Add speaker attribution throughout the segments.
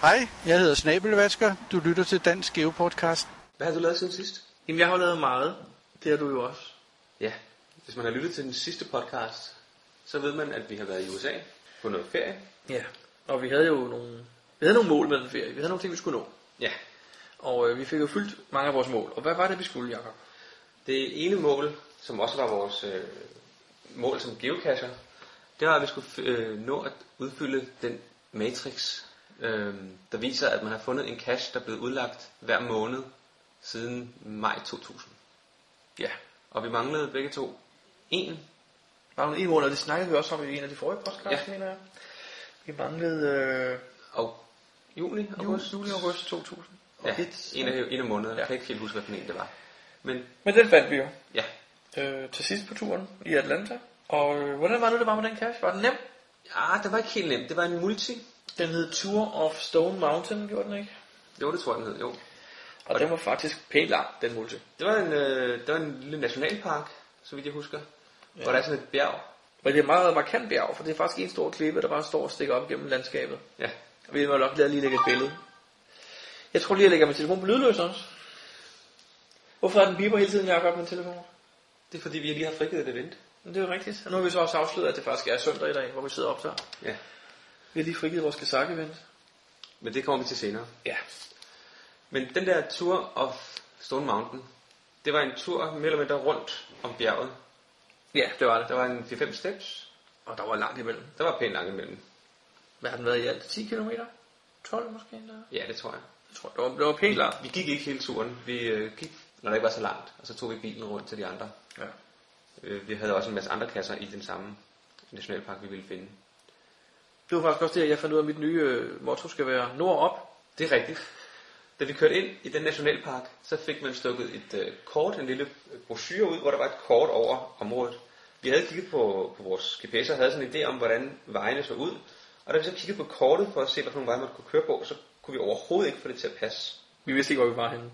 Speaker 1: Hej, jeg hedder Snabelvasker. Du lytter til Dansk Geo Podcast.
Speaker 2: Hvad har du lavet siden sidst?
Speaker 3: Jamen, jeg har jo lavet meget. Det har du jo også.
Speaker 2: Ja, hvis man har lyttet til den sidste podcast, så ved man, at vi har været i USA på noget ferie.
Speaker 3: Ja. Og vi havde jo nogle, vi havde nogle mål med den ferie. Vi havde nogle ting, vi skulle nå.
Speaker 2: Ja,
Speaker 3: Og øh, vi fik jo fyldt mange af vores mål. Og hvad var det, vi skulle, Jacob?
Speaker 2: det ene mål, som også var vores øh, mål som geocacher, det var, at vi skulle øh, nå at udfylde den matrix, øh, der viser, at man har fundet en cache, der er blevet udlagt hver måned siden maj 2000.
Speaker 3: Ja.
Speaker 2: Og vi manglede begge to en.
Speaker 3: Var der en mål, og det snakkede vi også om i en af de forrige podcasts,
Speaker 2: Ja.
Speaker 3: mener jeg. Vi manglede øh,
Speaker 2: Og juni, august,
Speaker 3: august, juli, august 2000. Og
Speaker 2: Ja,
Speaker 3: et-
Speaker 2: en af, en af månederne.
Speaker 3: Ja.
Speaker 2: Jeg kan ikke helt huske, hvilken en det var. Men
Speaker 3: Men den fandt vi jo
Speaker 2: ja,
Speaker 3: øh, til sidst på turen i Atlanta. Og øh, hvordan var det, det var med den cache? Var den nem?
Speaker 2: ah, det var ikke helt nemt. Det var en multi.
Speaker 3: Den hed Tour of Stone Mountain, gjorde den ikke?
Speaker 2: Jo, det tror jeg, den hed. Jo.
Speaker 3: Og, og den var faktisk pænt lang, den multi.
Speaker 2: Det var en, øh, det var en lille nationalpark, så vidt jeg husker. Ja. Hvor der er sådan et bjerg.
Speaker 3: Men det er et meget markant bjerg, for det er faktisk en stor klippe, der bare står og stikker op gennem landskabet.
Speaker 2: Ja.
Speaker 3: Og vi må nok lade lige lægge et billede. Jeg tror lige, jeg lægger min telefon på lydløs også. Hvorfor er den biber hele tiden, Jacob, min telefon?
Speaker 2: Det er fordi, vi lige har frigivet det vent.
Speaker 3: Men det er jo rigtigt. Og nu har vi så også afsløret, at det faktisk er søndag i dag, hvor vi sidder og optager.
Speaker 2: Ja.
Speaker 3: Vi har lige frigivet vores kasakevent.
Speaker 2: Men det kommer vi til senere.
Speaker 3: Ja.
Speaker 2: Men den der tur of Stone Mountain, det var en tur mere eller mindre rundt om bjerget.
Speaker 3: Ja, det var det.
Speaker 2: Der var en 4-5 steps.
Speaker 3: Og der var langt imellem.
Speaker 2: Der var pænt langt imellem.
Speaker 3: Hvad har den været i alt? 10 km? 12 måske endda?
Speaker 2: Ja, det tror jeg.
Speaker 3: Jeg tror, det var, det var pænt langt.
Speaker 2: Vi gik ikke hele turen. Vi øh, gik, når det ikke var så langt. Og så tog vi bilen rundt til de andre.
Speaker 3: Ja.
Speaker 2: Øh, vi havde også en masse andre kasser i den samme nationalpark, vi ville finde.
Speaker 3: Det var faktisk også det, at jeg fandt ud af, at mit nye øh, motto skal være nord op,
Speaker 2: Det er rigtigt. Da vi kørte ind i den nationalpark, så fik man stukket et øh, kort, en lille øh, brochure ud, hvor der var et kort over området. Vi havde kigget på, på vores GPS og havde sådan en idé om, hvordan vejene så ud. Og da vi så kiggede på kortet for at se, hvad for nogle veje man kunne køre på, så kunne vi overhovedet ikke få det til at passe.
Speaker 3: Vi vidste ikke, hvor vi var henne.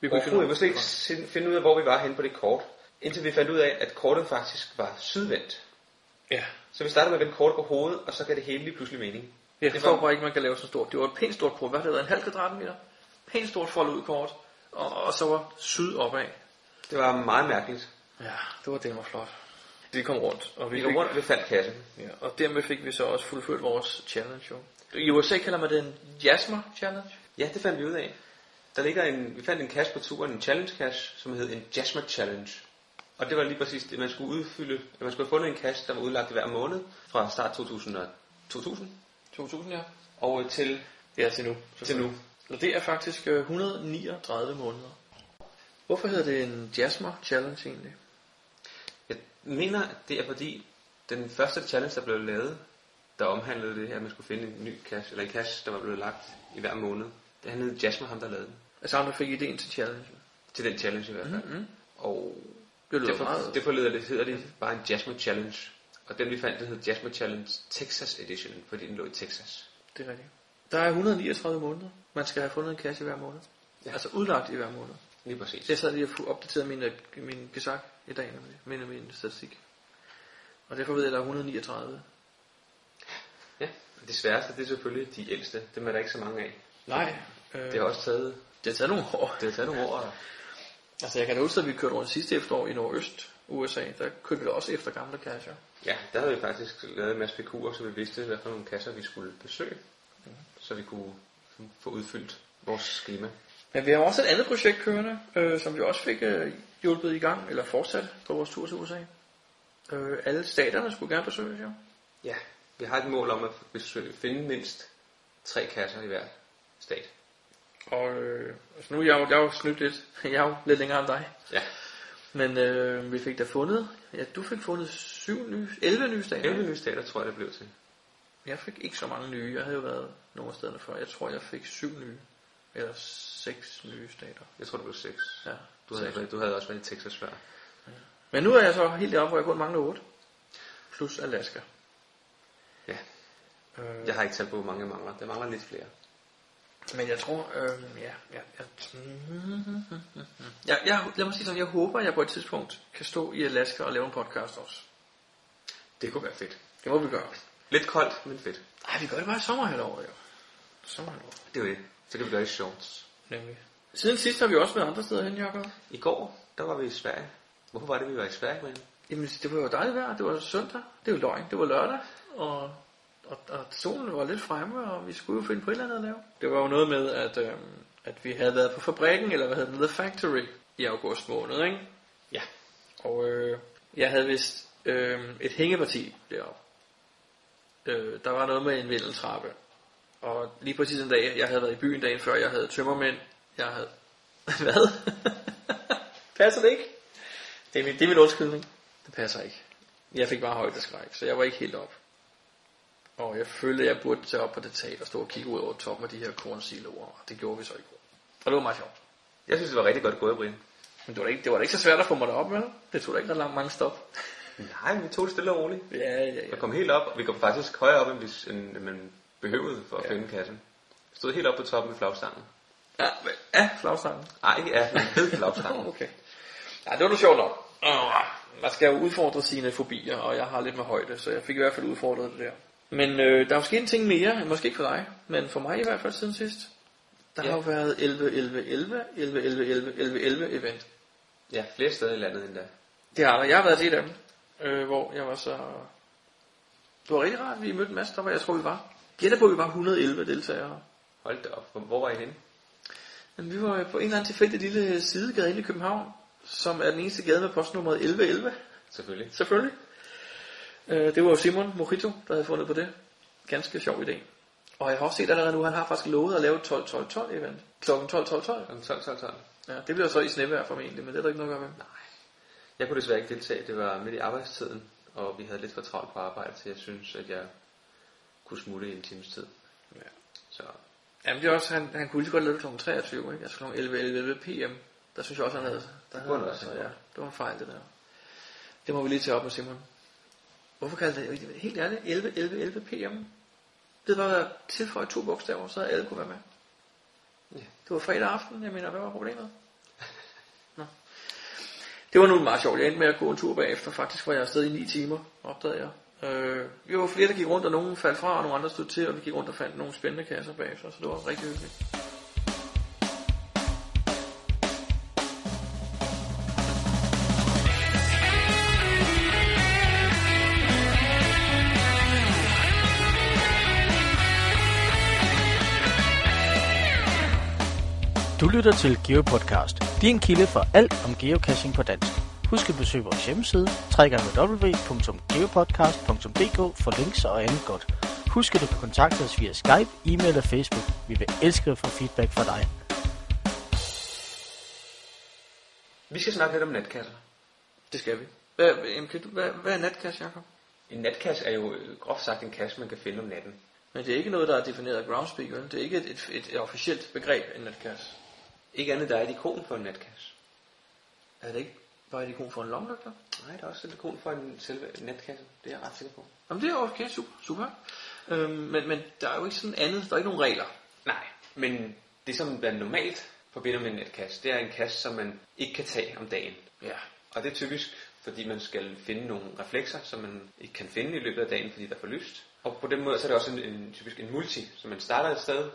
Speaker 3: Vi kunne
Speaker 2: Overhovedet. Vi kunne slet
Speaker 3: finde
Speaker 2: ikke sin- finde ud af, hvor vi var henne på det kort. Indtil vi fandt ud af, at kortet faktisk var sydvendt.
Speaker 3: Ja.
Speaker 2: Så vi startede med at vende kortet på hovedet, og så gav det hele lige pludselig mening.
Speaker 3: Jeg
Speaker 2: det
Speaker 3: forstår
Speaker 2: var,
Speaker 3: bare ikke, man kan lave så stort. Det var et pænt stort kort. Hvad har det været? En halv kvadratmeter? Pænt stort foldudkort. Og, og så var syd opad.
Speaker 2: det var meget mærkeligt.
Speaker 3: Ja, det var det, var flot. Vi kom rundt. Og vi,
Speaker 2: Vi
Speaker 3: fik,
Speaker 2: kom rundt ved faldkassen.
Speaker 3: Ja, og dermed fik vi så også fuldført vores challenge. Jo. I USA kalder man det en Jasmer Challenge.
Speaker 2: Ja, det fandt vi ud af. Der ligger en, vi fandt en cache på turen, en challenge cache, som hed en Jasmer Challenge. Og det var lige præcis det, man skulle udfylde. At man skulle have fundet en cache, der var udlagt hver måned fra start 2000, og 2000
Speaker 3: 2000, ja.
Speaker 2: og øh, til,
Speaker 3: Ja, til nu.
Speaker 2: til nu.
Speaker 3: Og det er faktisk øh, 139 måneder. Hvorfor hedder det en Jasmer Challenge egentlig?
Speaker 2: Jeg mener, at det er fordi, den første challenge, der blev lavet, der omhandlede det her, at man skulle finde en ny cache, eller en cache, der var blevet lagt i hver måned. Det handlede Jasmer, ham der lavede den.
Speaker 3: Altså ham, der fik ideen til challengen.
Speaker 2: Til den challenge i hvert fald. Mm-hmm. Og
Speaker 3: Det lyder
Speaker 2: Derfor,
Speaker 3: meget...
Speaker 2: derfor leder det, hedder det bare en Jasmine Challenge. Og den vi fandt, den hed Jasmine Challenge Texas Edition, fordi den lå i Texas.
Speaker 3: Det er rigtigt. Der er 139 måneder. Man skal have fundet en kasse i hver måned. Ja. Altså udlagt i hver måned.
Speaker 2: Lige præcis.
Speaker 3: Jeg sad lige og fu- opdaterede min, øh, min gesak i dag, nemlig. Min, min statistik. Og derfor ved jeg, at der er 139.
Speaker 2: Ja. Og det sværeste, det er selvfølgelig de ældste. Dem er der ikke så mange af.
Speaker 3: Nej. Øh,
Speaker 2: Det har også taget,
Speaker 3: det har taget nogle år.
Speaker 2: det har taget nogle år.
Speaker 3: Altså jeg kan da huske, at vi kørte rundt sidste efterår i nordøst USA. Der kørte vi da også efter gamle kasser.
Speaker 2: Ja, der havde vi faktisk lavet en masse PQ'er, så vi vidste, hvad for nogle kasser vi skulle besøge. Så vi kunne få udfyldt vores schema.
Speaker 3: Men vi har også et andet projekt kørende, øh, som vi også fik øh, hjulpet i gang, eller fortsat på vores tur til USA. Øh, alle staterne skulle gerne besøges, jo.
Speaker 2: Ja. Vi har et mål om at besøge, finde mindst tre kasser i hver stat.
Speaker 3: Og øh, altså nu er jeg jo, jeg er jo snydt lidt. Jeg er jo lidt længere end dig.
Speaker 2: Ja.
Speaker 3: Men øh, vi fik da fundet... Ja, du fik fundet syv nye, 11 nye stater.
Speaker 2: 11 nye stater, tror jeg, det blev til.
Speaker 3: Jeg fik ikke så mange nye. Jeg havde jo været nogle af stederne før. Jeg tror, jeg fik syv nye. Eller seks nye stater.
Speaker 2: Jeg tror, det blev seks.
Speaker 3: Ja.
Speaker 2: Du havde, du havde også været i Texas før.
Speaker 3: Men nu er jeg så helt deroppe, hvor jeg kun mangler otte. Plus Alaska.
Speaker 2: Ja.
Speaker 3: Øh,
Speaker 2: Jeg har ikke talt på, hvor mange jeg mangler. Der mangler lidt flere.
Speaker 3: Men jeg tror, øh, ja, ja, jeg, jeg, jeg, lad mig sige sådan, jeg håber, at jeg på et tidspunkt kan stå i Alaska og lave en podcast også.
Speaker 2: Det kunne være fedt.
Speaker 3: Det må vi gøre.
Speaker 2: Lidt koldt, men fedt.
Speaker 3: Nej, vi gør det bare i sommerhalvåret, jo. Sådan er det.
Speaker 2: Det er jo det. Så kan vi gøre det sjovt.
Speaker 3: Nemlig. Siden sidst har vi også været andre steder hen, Jacob.
Speaker 2: I går, der var vi i Sverige. Hvorfor var det, vi var i Sverige, men?
Speaker 3: Jamen, det var jo dejligt vejr. Det var søndag. Det var løgn. Det var lørdag. Og, og, og solen var lidt fremme, og vi skulle jo finde på et eller andet at lave. Det var jo noget med, at, øh, at vi havde været på fabrikken, eller hvad hedder den, The Factory, i august måned, ikke?
Speaker 2: Ja.
Speaker 3: Og øh, jeg havde vist øh, et hængeparti deroppe. Øh, der var noget med en vindeltrappe. Og lige præcis den dag, jeg havde været i byen dagen før, jeg havde tømmermænd, jeg havde... Hvad? passer det ikke? Det er min, det er min undskyldning. Det passer ikke. Jeg fik bare højdeskræk, så jeg var ikke helt op. Og jeg følte, at jeg burde tage op på det tag og stå og kigge ud over toppen af de her kornsiloer, og det gjorde vi så i går. Og det var meget sjovt.
Speaker 2: Jeg synes, det var rigtig godt gået, Brian.
Speaker 3: Men det var, da ikke, det var da ikke så svært at få mig derop, vel? Det tog da ikke ret langt mange stop.
Speaker 2: Nej, men vi tog det stille og roligt.
Speaker 3: Ja, ja, ja.
Speaker 2: Jeg kom helt op, og vi kom faktisk højere op, end, vi, end, end man behøvede for at
Speaker 3: Ja.
Speaker 2: ja. finde kassen. Jeg stod helt op på toppen af flagstangen.
Speaker 3: Ja, men, ja flagstangen.
Speaker 2: Nej, ikke af, men ved flagstangen.
Speaker 3: okay. Ja, det var nu sjovt nok. Åh, Man skal jo udfordre sine fobier, og jeg har lidt med højde, så jeg fik i hvert fald udfordret det der. Men øh, der er måske en ting mere, måske ikke for dig, men for mig i hvert fald siden sidst. Der ja.
Speaker 2: Ja.
Speaker 3: har jo været 11, 11, 11, 11, 11, 11, 11, 11 event.
Speaker 2: Ja, flere steder i landet end der.
Speaker 3: Det har der. Jeg har været til et af dem, øh, hvor jeg var så... Det var rigtig rart, vi mødte en masse, der var, jeg tror vi var. Gætter på, at vi var 111 deltagere.
Speaker 2: Hold da op. Hvor, hvor var I henne?
Speaker 3: Jamen, vi var på en eller anden tilfældig lille sidegade inde i København, som er den eneste gade med postnummeret 1111.
Speaker 2: Selvfølgelig.
Speaker 3: Selvfølgelig. Øh, det var jo Simon Mojito, der havde fundet på det. Ganske sjov idé. Og jeg har også set allerede nu, han har faktisk lovet at lave et 12-12-12 event. Klokken 12-12-12.
Speaker 2: Kl. 12, 12, 12.
Speaker 3: Ja, det bliver så i snevejr formentlig, men det er der ikke noget at gøre med.
Speaker 2: Jeg kunne desværre ikke deltage. Det var midt i arbejdstiden, og vi havde lidt for travlt på arbejde, så jeg synes, at jeg kunne smutte i en times tid.
Speaker 3: Ja.
Speaker 2: Så
Speaker 3: Jamen det er også, han, han kunne lige så godt lave det kl. 23, ikke? Altså kl. 11, 11, 11 p.m. Der synes jeg også, han havde, der havde
Speaker 2: kunne
Speaker 3: han
Speaker 2: han
Speaker 3: altså,
Speaker 2: også
Speaker 3: ja,
Speaker 2: have
Speaker 3: det var en fejl det der. Det må vi lige tage op med Simon. Hvorfor kaldte jeg det, helt ærligt, 11, 11, 11 p.m.? Det var tilføjet to bogstaver, så havde alle kunne være med.
Speaker 2: Ja.
Speaker 3: Det var fredag aften, jeg mener, hvad var problemet? Nå. Det var nu meget sjovt. Jeg endte med at gå en tur bagefter. Faktisk var jeg afsted i 9 timer, opdagede jeg. Øh, vi var flere, der gik rundt, og nogen faldt fra, og nogle andre stod til, og vi gik rundt og fandt nogle spændende kasser bagefter, så det var rigtig hyggeligt.
Speaker 4: Du lytter til GeoPodcast, din kilde for alt om geocaching på dansk. Husk at besøge vores hjemmeside, www.geopodcast.dk for links og andet godt. Husk at du kan kontakte os via Skype, e-mail og Facebook. Vi vil elske at få feedback fra dig.
Speaker 2: vi skal snakke lidt om natkasser.
Speaker 3: Det skal vi. Hvad, jamen, kan du- hvad, hvad er natkasse, Jacob?
Speaker 2: En natkasse er jo øh, groft sagt en kasse, man kan finde om natten.
Speaker 3: Men det er ikke noget, der er defineret af groundspeak, vel? Det er ikke et, et, et, et officielt begreb, en natkasse.
Speaker 2: Ikke andet, der er et ikon for en natkasse.
Speaker 3: Er det ikke bare et ikon for en lommelygter?
Speaker 2: Nej, der er også et ikon for en selve natkasse. Det er jeg ret sikker på.
Speaker 3: Jamen, det er okay, super, super. Øhm, men, men der er jo ikke sådan andet, der er ikke nogen regler.
Speaker 2: Nej, men det som man normalt forbinder med en natkasse, det er en kasse, som man ikke kan tage om dagen.
Speaker 3: Ja.
Speaker 2: Og det er typisk, fordi man skal finde nogle reflekser, som man ikke kan finde i løbet af dagen, fordi der er for lyst. Og på den måde så er det også en, en typisk en multi, så man starter et sted,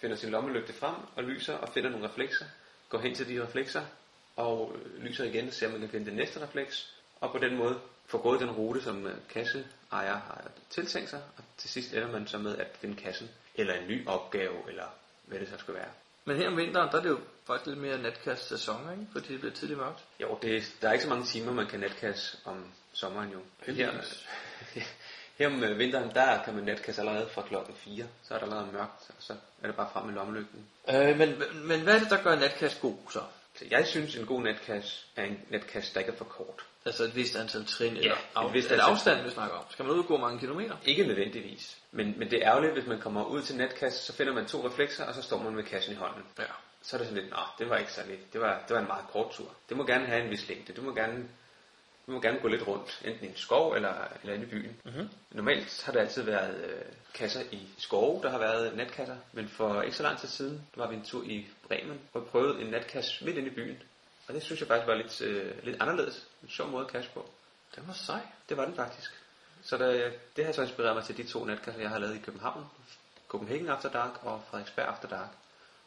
Speaker 2: finder sin lommelygte frem og lyser og finder nogle reflekser, går hen til de reflekser og øh, lyser igen og ser, om man kan finde den næste refleks. Og på den måde får gået den rute, som øh, kasseejer har tiltænkt sig, og til sidst ender man så med at finde kassen, eller en ny opgave, eller hvad det så skal være.
Speaker 3: Men her om vinteren, der er det jo faktisk lidt mere natkasse-sæson, ikke? Fordi det bliver tidligt mørkt.
Speaker 2: Jo, det, der er ikke så mange timer, man kan natkasse om sommeren jo.
Speaker 3: Heldigvis.
Speaker 2: Her, her om øh, vinteren, der kan man natkasse allerede fra klokken 4. Så er der allerede mørkt, og så er det bare frem med lommelygten.
Speaker 3: Øh, men, men hvad er det, der gør en natkasse god så?
Speaker 2: Så jeg synes, en god natkasse er en natkasse, der ikke er for kort.
Speaker 3: Altså et vist antal trin, eller
Speaker 2: et
Speaker 3: af,
Speaker 2: vist
Speaker 3: er det
Speaker 2: antal
Speaker 3: afstanden, vi snakker om. Skal man udgå mange kilometer?
Speaker 2: Ikke nødvendigvis. Men, men det er ærgerligt, hvis man kommer ud til natkasse, så finder man to reflekser, og så står man med kassen i hånden.
Speaker 3: Ja.
Speaker 2: Så er det sådan lidt, nå, det var ikke så lidt. Det var, det var en meget kort tur. Det må gerne have en vis længde. Du må gerne, du må gerne gå lidt rundt, enten i en skov eller, eller inde i byen.
Speaker 3: Mhm.
Speaker 2: Mm-hmm. Normalt har det altid været øh, kasser i skove, der har været natkasser. Men for ikke så lang tid siden var vi en tur i Bremen, hvor vi prøvede en natkasse midt inde i byen. Og det synes jeg faktisk var lidt, øh, lidt anderledes. En sjov måde at kasse på.
Speaker 3: Den var sej.
Speaker 2: øh, Det var den faktisk. Så der, det har så inspireret mig til de to natkasser, jeg har lavet i København. Copenhagen After Dark og Frederiksberg After Dark,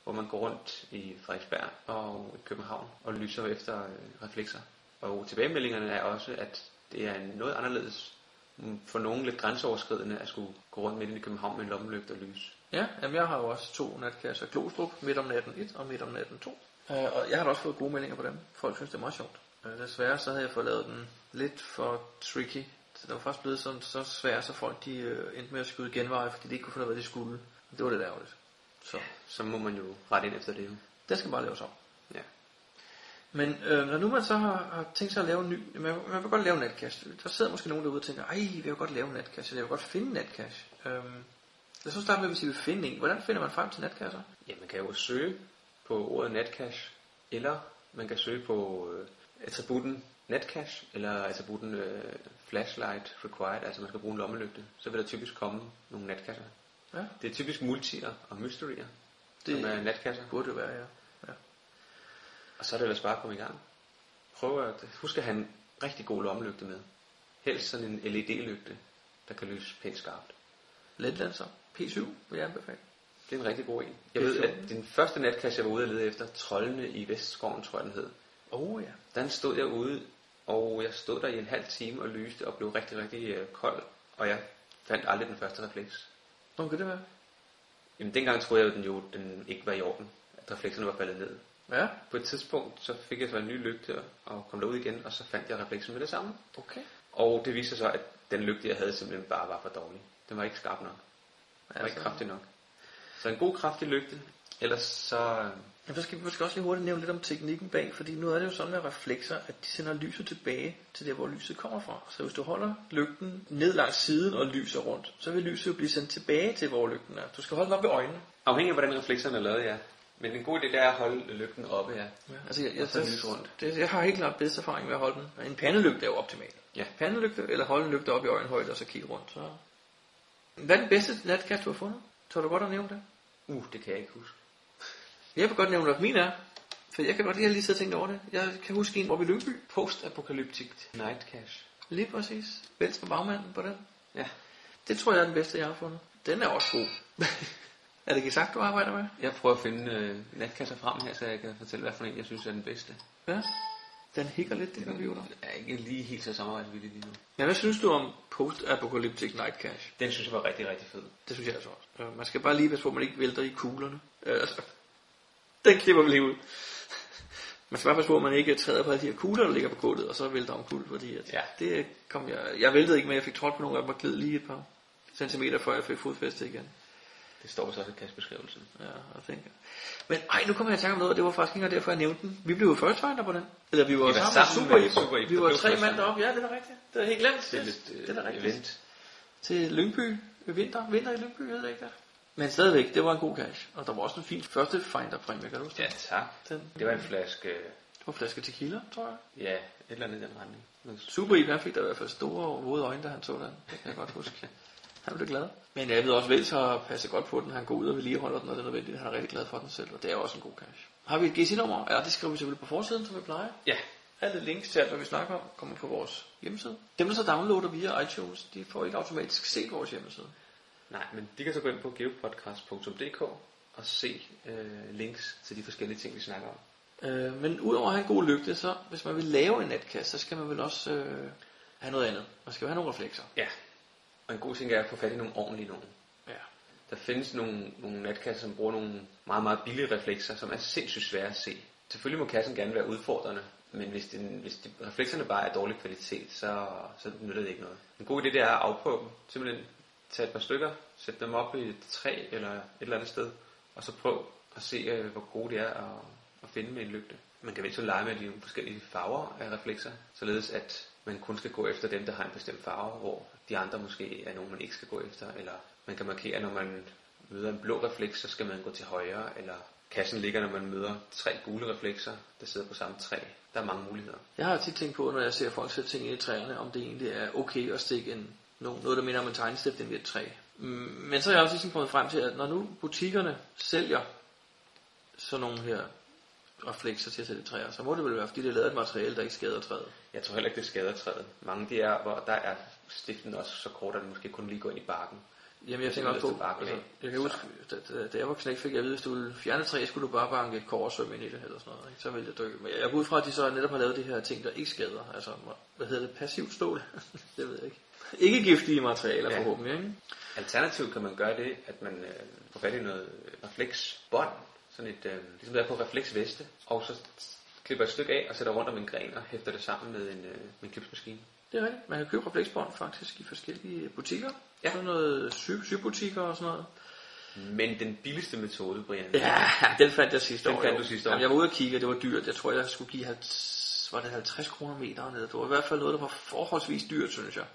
Speaker 2: hvor man går rundt i Frederiksberg og i København og lyser efter øh, reflekser. Og tilbagemeldingerne er også, at det er noget anderledes mm, for nogen lidt grænseoverskridende at skulle gå rundt midt inde i København med en lommelygte og lys.
Speaker 3: Ja, jamen jeg har jo også to natklasser. Glostrup midt om natten 1 og midt om natten 2. Øh, og jeg har da også fået gode meldinger på dem. Folk synes, det er meget sjovt. Øh, desværre så havde jeg fået lavet den lidt for tricky. Så det var faktisk blevet sådan, så svær, så folk de øh, endte med at skyde genveje, fordi de ikke kunne finde ud af, hvad de skulle. Det var lidt ærgerligt. Så
Speaker 2: Så må man jo rette ind efter det jo.
Speaker 3: det skal bare laves om.
Speaker 2: Ja.
Speaker 3: Men øh, når nu man så har, har tænkt sig at lave en ny, man, man vil godt lave en natcash. Der sidder måske nogen derude og tænker, ej, jeg vil godt lave en natcash, eller jeg vil godt finde en natcash. Øhm, jeg synes, der med, hvis I vil finde en, hvordan finder man frem til natkasser?
Speaker 2: Ja, man kan jo søge på ordet netcash, eller man kan søge på øh, attributen netcash, eller attributen øh, flashlight required, altså man skal bruge en lommelygte. Så vil der typisk komme nogle netkasser.
Speaker 3: Ja.
Speaker 2: Det er typisk multier og mysterier, det
Speaker 3: Det-
Speaker 2: som er netkasser.
Speaker 3: Det burde jo være, ja. ja.
Speaker 2: Og så er det ellers bare at komme i gang. Prøv at husk at have en rigtig god lommelygte med. Helst sådan en LED-lygte, der kan lyse pænt skarpt.
Speaker 3: Letlanser, P7 vil jeg anbefale.
Speaker 2: Det er en rigtig god en. Jeg
Speaker 3: Det er
Speaker 2: ved,
Speaker 3: sjovt.
Speaker 2: at den første natkasse, jeg var ude at lede efter, Trollene i Vestskoven, tror jeg den hed,
Speaker 3: Åh oh, ja.
Speaker 2: Den stod jeg ude, og jeg stod der i en halv time og lyste og blev rigtig, rigtig øh, kold. Og jeg fandt aldrig den første refleks.
Speaker 3: Nå, kan det være?
Speaker 2: Jamen dengang troede jeg jo, den jo den ikke var i orden. At reflekserne var faldet ned.
Speaker 3: Ja,
Speaker 2: På et tidspunkt, så fik jeg så en ny lygte og kom derud igen, og så fandt jeg refleksen med det samme.
Speaker 3: okay.
Speaker 2: Og det viste sig så, at den lygte, jeg havde, simpelthen bare var for dårlig. Den var ikke skarp nok. Den var
Speaker 3: Altså.
Speaker 2: ikke kraftig nok. Så en god, kraftig lygte. Ellers så... øh,
Speaker 3: Jamen, så skal vi måske også lige hurtigt nævne lidt om teknikken bag, fordi nu er det jo sådan med reflekser, at de sender lyset tilbage til der, hvor lyset kommer fra. Så hvis du holder lygten ned langs siden og lyser rundt, så vil lyset jo blive sendt tilbage til, hvor lygten er. Du skal holde den op ved øjnene.
Speaker 2: Afhængig af, hvordan reflekserne er lavet, ja. Men en god idé, det er at holde lygten oppe, ja.
Speaker 3: Ja, altså, jeg, jeg,
Speaker 2: Og så
Speaker 3: jeg,
Speaker 2: lyse rundt.
Speaker 3: det, jeg har helt klart bedst erfaring med at holde den. Men En pandelygte er jo optimal.
Speaker 2: Ja.
Speaker 3: Pandelygte, eller holde en lygte op i øjenhøjde og så kigge rundt. Så. Hvad er den bedste natkast, du har fundet? Tør du godt at nævne det?
Speaker 2: Uh, det kan jeg ikke huske.
Speaker 3: Jeg vil godt nævne, hvad min er. For jeg kan godt lige have lige siddet og tænkt over det. Jeg kan huske en, hvor vi Lyngby.
Speaker 2: Postapokalyptisk Nightcash.
Speaker 3: Lige præcis. Vels for bagmanden på den.
Speaker 2: Ja.
Speaker 3: Det tror jeg er den bedste, jeg har fundet. Den er også god. er det ikke sagt, du arbejder med?
Speaker 2: Jeg prøver at finde øh, natkasser frem her, så jeg kan fortælle, hvad for en jeg synes er den bedste.
Speaker 3: Ja. Den hikker lidt, den computer.
Speaker 2: Den er ikke lige helt så samarbejdsvillig lige nu.
Speaker 3: Men hvad synes du om post-apokalyptic nightcash?
Speaker 2: Den synes jeg var rigtig, rigtig fed.
Speaker 3: Det synes jeg altså også. Øh, Man skal bare lige passe på, at man ikke vælter i kuglerne. Øh, altså, den klipper vi lige ud. Man skal bare passe på, at man ikke træder på alle de her kugler, der ligger på gulvet, og så vælter om kul, fordi at
Speaker 2: Ja.
Speaker 3: det kom jeg... Jeg væltede ikke, men jeg fik trådt på nogle af dem og gled lige et par centimeter, før jeg fik fodfæste igen.
Speaker 2: Det står så også i kastbeskrivelsen.
Speaker 3: Ja, og tænker. Men ej, nu kommer jeg i tanke om noget, og det var faktisk ikke engang derfor, jeg nævnte den. Vi blev jo first finder på den. Eller vi var,
Speaker 2: var
Speaker 3: sammen,
Speaker 2: sammen
Speaker 3: super,
Speaker 2: med
Speaker 3: med super
Speaker 2: Super Ip,
Speaker 3: Vi
Speaker 2: der
Speaker 3: var
Speaker 2: blev
Speaker 3: tre
Speaker 2: first
Speaker 3: mand
Speaker 2: finder.
Speaker 3: deroppe, ja, det er da rigtigt. Det er helt glemt.
Speaker 2: Det er
Speaker 3: Yes,
Speaker 2: lidt øh,
Speaker 3: det er da rigtigt.
Speaker 2: event.
Speaker 3: Til Lyngby, øh, vinter, vinter i Lyngby, hedder det ikke det? Men stadigvæk, det var en god cash. Og der var også en fin første finder-præmie, kan du huske?
Speaker 2: Ja,
Speaker 3: det?
Speaker 2: tak.
Speaker 3: Den-
Speaker 2: Det var en flaske, øh,
Speaker 3: Det var flaske tequila, tror jeg.
Speaker 2: ja, et eller andet i den retning. Noget
Speaker 3: Super Ip, han fik da i hvert fald store og våde øjne, da han så den. Det kan jeg godt huske. Han blev glad. Men jeg ved også, Vels har passet godt på den. Han går ud og vedligeholder den, og det er nødvendigt. Han er rigtig glad for den selv, og det er også en god cash. Har vi et GC-nummer? Ja, det skriver vi selvfølgelig på forsiden, som vi plejer.
Speaker 2: Ja,
Speaker 3: Alle links til alt, hvad vi snakker om, kommer på vores hjemmeside. Dem, der så downloader via iTunes, de får ikke automatisk set vores hjemmeside.
Speaker 2: nej, men de kan så gå ind på geopodcast.dk og se øh, links til de forskellige ting, vi snakker om.
Speaker 3: Øh, men udover at have en god lygte, så hvis man vil lave en natkasse, så skal man vel også øh, have noget andet. Man skal jo have nogle reflekser.
Speaker 2: Ja, og en god ting er at få fat i nogle ordentlige nogen.
Speaker 3: Ja.
Speaker 2: Der findes nogle, nogle natkasser, som bruger nogle meget, meget billige reflekser, som er sindssygt svære at se. Selvfølgelig må kassen gerne være udfordrende, men hvis, den, hvis de, reflekserne bare er dårlig kvalitet, så, så nytter det ikke noget. En god idé det er at afprøve dem. Simpelthen tage et par stykker, sætte dem op i et træ eller et eller andet sted, og så prøv at se, øh, hvor gode de er at, at finde med en lygte. Man kan vel så lege med de forskellige farver af reflekser, således at man kun skal gå efter dem, der har en bestemt farve, hvor de andre måske er nogen, man ikke skal gå efter, eller man kan markere, når man møder en blå refleks, så skal man gå til højre, eller kassen ligger, når man møder tre gule reflekser, der sidder på samme træ. Der er mange muligheder.
Speaker 3: Jeg har tit tænkt på, når jeg ser folk sætte ting ind i træerne, om det egentlig er okay at stikke en, no- noget, der minder om en tegnestift ind i et træ. Mm, Men så er jeg også ligesom kommet frem til, at når nu butikkerne sælger sådan nogle her reflekser til at sætte i træer, så må det vel være, fordi det er lavet af et materiale, der ikke skader træet.
Speaker 2: Jeg tror heller ikke, det skader træet. Mange de er, hvor der er stiften også så kort, at den måske kun lige går ind i barken.
Speaker 3: Jamen jeg tænker
Speaker 2: Det
Speaker 3: også
Speaker 2: lyder
Speaker 3: på,
Speaker 2: til bare
Speaker 3: altså,
Speaker 2: plan.
Speaker 3: jeg kan huske, da, da, da jeg var knæk, fik jeg at vide, hvis du ville fjerne et træ, skulle du bare banke et kort og svømme ind i det, eller sådan noget, ikke? så ville jeg dykke. Men jeg går ud fra, at de så netop har lavet de her ting, der ikke skader, altså, hvad hedder det, passivt stål, det ved jeg ikke. Ikke giftige materialer ja.
Speaker 2: Ja.
Speaker 3: forhåbentlig, ikke?
Speaker 2: Alternativt kan man gøre det, at man øh, får fat i noget øh, refleksbånd, sådan et, øh, ligesom der er på refleksveste, og så klipper et stykke af og sætter rundt om en gren og hæfter det sammen med en, øh, med en klipsmaskine.
Speaker 3: Det er rigtigt. Man kan købe refleksbånd faktisk i forskellige butikker. Ja.
Speaker 2: Ja.
Speaker 3: Sådan noget syg, sygbutikker og sådan noget.
Speaker 2: Men den billigste metode, Brian,
Speaker 3: Ja, den fandt jeg sidste
Speaker 2: Den
Speaker 3: år.
Speaker 2: fandt
Speaker 3: jo.
Speaker 2: du sidste år.
Speaker 3: Jamen, jeg var ude og kigge, og det var dyrt. Jeg tror, jeg skulle give 50, var det 50 kroner meter ned. Det var i hvert fald noget, der var forholdsvis dyrt, synes jeg.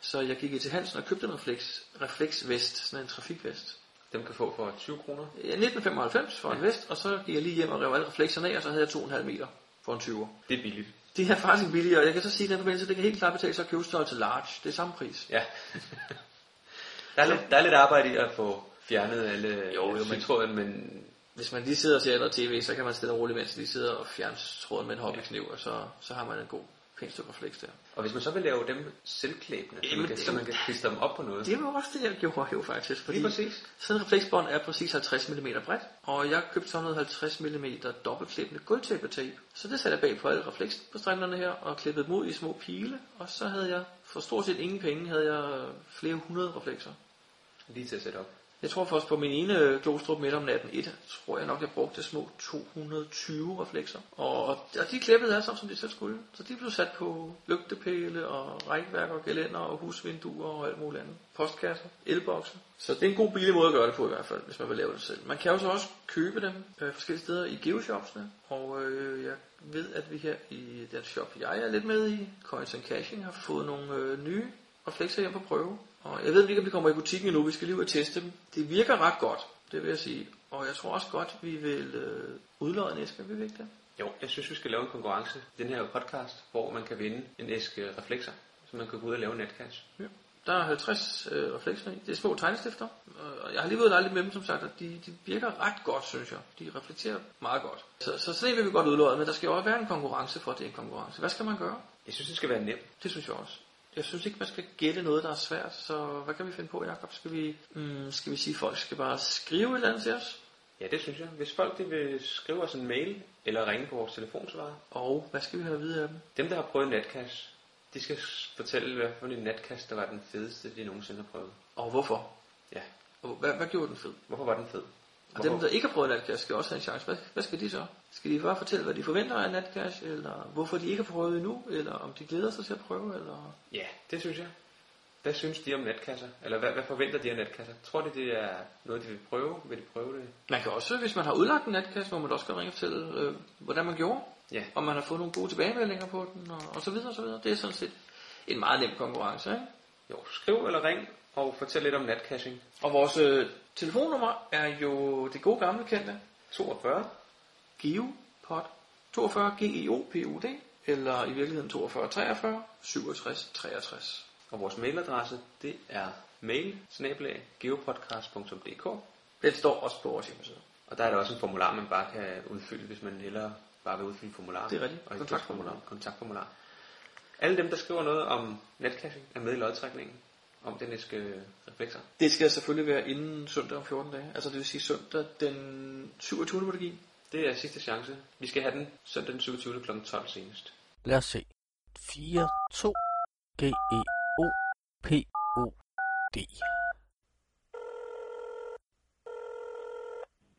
Speaker 3: Så jeg gik til Hansen og købte en refleks, refleksvest, sådan en trafikvest.
Speaker 2: dem kan få for 20 kroner.
Speaker 3: Ja, 1995 for en vest, og så gik jeg lige hjem og rev alle reflekserne af, og så havde jeg 2,5 meter for en 20'er.
Speaker 2: Det er billigt.
Speaker 3: Det er faktisk billigere, og jeg kan så sige, at den forbindelse, det kan helt klart betale sig at købe størrelse large. Det er samme pris.
Speaker 2: Ja. der, er lidt, der er lidt arbejde i at få fjernet alle
Speaker 3: Jo, jo, men-
Speaker 2: sytråden, men
Speaker 3: hvis man lige sidder og ser noget tv, så kan man stille og roligt, mens lige sidder og fjerne tråden med en hobbykniv, og så, så har man en god pæn stykke refleks der.
Speaker 2: og hvis man så vil lave dem selvklæbende, så
Speaker 3: Jamen,
Speaker 2: man kan,
Speaker 3: det-
Speaker 2: så man kan klistre dem op på noget.
Speaker 3: Det var også det, jeg gjorde jo faktisk, fordi
Speaker 2: Lige præcis.
Speaker 3: sådan en refleksbånd er præcis 50 mm bredt, og jeg købte sådan noget 50 mm dobbeltklippende guldtæppetape. Så det satte jeg bag på alle refleks på strænderne her, og klippede dem ud i små pile, og så havde jeg, for stort set ingen penge, havde jeg flere hundrede reflekser.
Speaker 2: Lige til at sætte op.
Speaker 3: Jeg tror faktisk på min ene øh, Glostrup midt om natten 1, tror jeg nok, jeg brugte små 220 reflekser. Og, og de klippede af, sådan som de selv skulle. Så de blev sat på lygtepæle og rækværk og gelænder og husvinduer og alt muligt andet. Postkasser, elbokse. Så det er en god billig måde at gøre det på i hvert fald, hvis man vil lave det selv. Man kan jo så også købe dem øh, forskellige steder i geoshopsene. Og øh, jeg ved, at vi her i den shop, jeg er lidt med i, Coins and Cashing, har fået nogle øh, nye og flexer hjem på prøve. Og jeg ved ikke, om vi kommer i butikken endnu. Vi skal lige ud og teste dem. Det virker ret godt, det vil jeg sige. Og jeg tror også godt, vi vil øh, udlåde en æske, vil vi ikke det?
Speaker 2: Jo, jeg synes, vi skal lave en konkurrence i den her podcast, hvor man kan vinde en æske reflekser, så man kan gå ud og lave en natcash.
Speaker 3: Ja. Der er 50 øh, reflekser i. Det er små tegnestifter. Øh, Og jeg har lige været og lege lidt med dem, som sagt, og de, de virker ret godt, synes jeg. De reflekterer meget godt. Så, så sådan en vil vi godt udlåde, men der skal jo også være en konkurrence for, at det er en konkurrence. Hvad skal man gøre?
Speaker 2: Jeg synes, det skal være nemt.
Speaker 3: Det synes jeg også. Jeg synes ikke, man skal gætte noget, der er svært, så hvad kan vi finde på, Jacob? Skal vi, mm, skal vi sige, at folk skal bare skrive et eller andet til os?
Speaker 2: Ja, det synes jeg. Hvis folk de vil skrive os en mail eller ringe på vores telefonsvarer,
Speaker 3: Og hvad skal vi have at vide af dem?
Speaker 2: dem, der har prøvet natcash, de skal s- fortælle, hvad for en natcash, der var den fedeste, de nogensinde har prøvet.
Speaker 3: Og hvorfor?
Speaker 2: Ja,
Speaker 3: Og hvad, hvad gjorde den fed?
Speaker 2: hvorfor var den fed?
Speaker 3: Og
Speaker 2: Hvorfor?
Speaker 3: dem, der ikke har prøvet natcash, skal også have en chance. Hvad, hvad skal de så? Skal de bare fortælle, hvad de forventer af natcash, eller hvorfor de ikke har prøvet endnu, eller om de glæder sig til at prøve, eller...
Speaker 2: Ja, det synes jeg. Hvad synes de om natkasser? Eller hvad, hvad forventer de af natkasser? Tror de, det er noget, de vil prøve? Vil de prøve det?
Speaker 3: Man kan også, hvis man har udlagt en natcash, må man også godt ringe og fortælle, øh, hvordan man gjorde,
Speaker 2: Ja.
Speaker 3: om man har fået nogle gode tilbagemeldinger på den, og, og så videre, og så videre. Det er sådan set en meget nem konkurrence, ikke?
Speaker 2: Jo, skriv eller ring og fortæl lidt om natcaching.
Speaker 3: Og vores øh, telefonnummer er jo det gode gamle kendte,
Speaker 2: 42
Speaker 3: GeoPod 42 GEOPUD eller i virkeligheden 42 43 67 63.
Speaker 2: Og vores mailadresse, det er mail geopodcast.dk
Speaker 3: Den står også på vores hjemmeside.
Speaker 2: Og der er der også en formular, man bare kan udfylde, hvis man hellere bare vil udfylde formular.
Speaker 3: Det er rigtigt.
Speaker 2: Og ikke
Speaker 3: Kontaktformular.
Speaker 2: kontaktformular. kontaktformular. Alle dem, der skriver noget om netcaching, er med i lodtrækningen om den æske øh, reflekser.
Speaker 3: Det skal selvfølgelig være inden søndag om 14 dage. Altså det vil sige søndag den 27. må det give.
Speaker 2: Det er sidste chance. Vi skal have den søndag den 27. kl. 12 senest.
Speaker 4: Lad os se. 4, 2, G, E, O, P, O, D.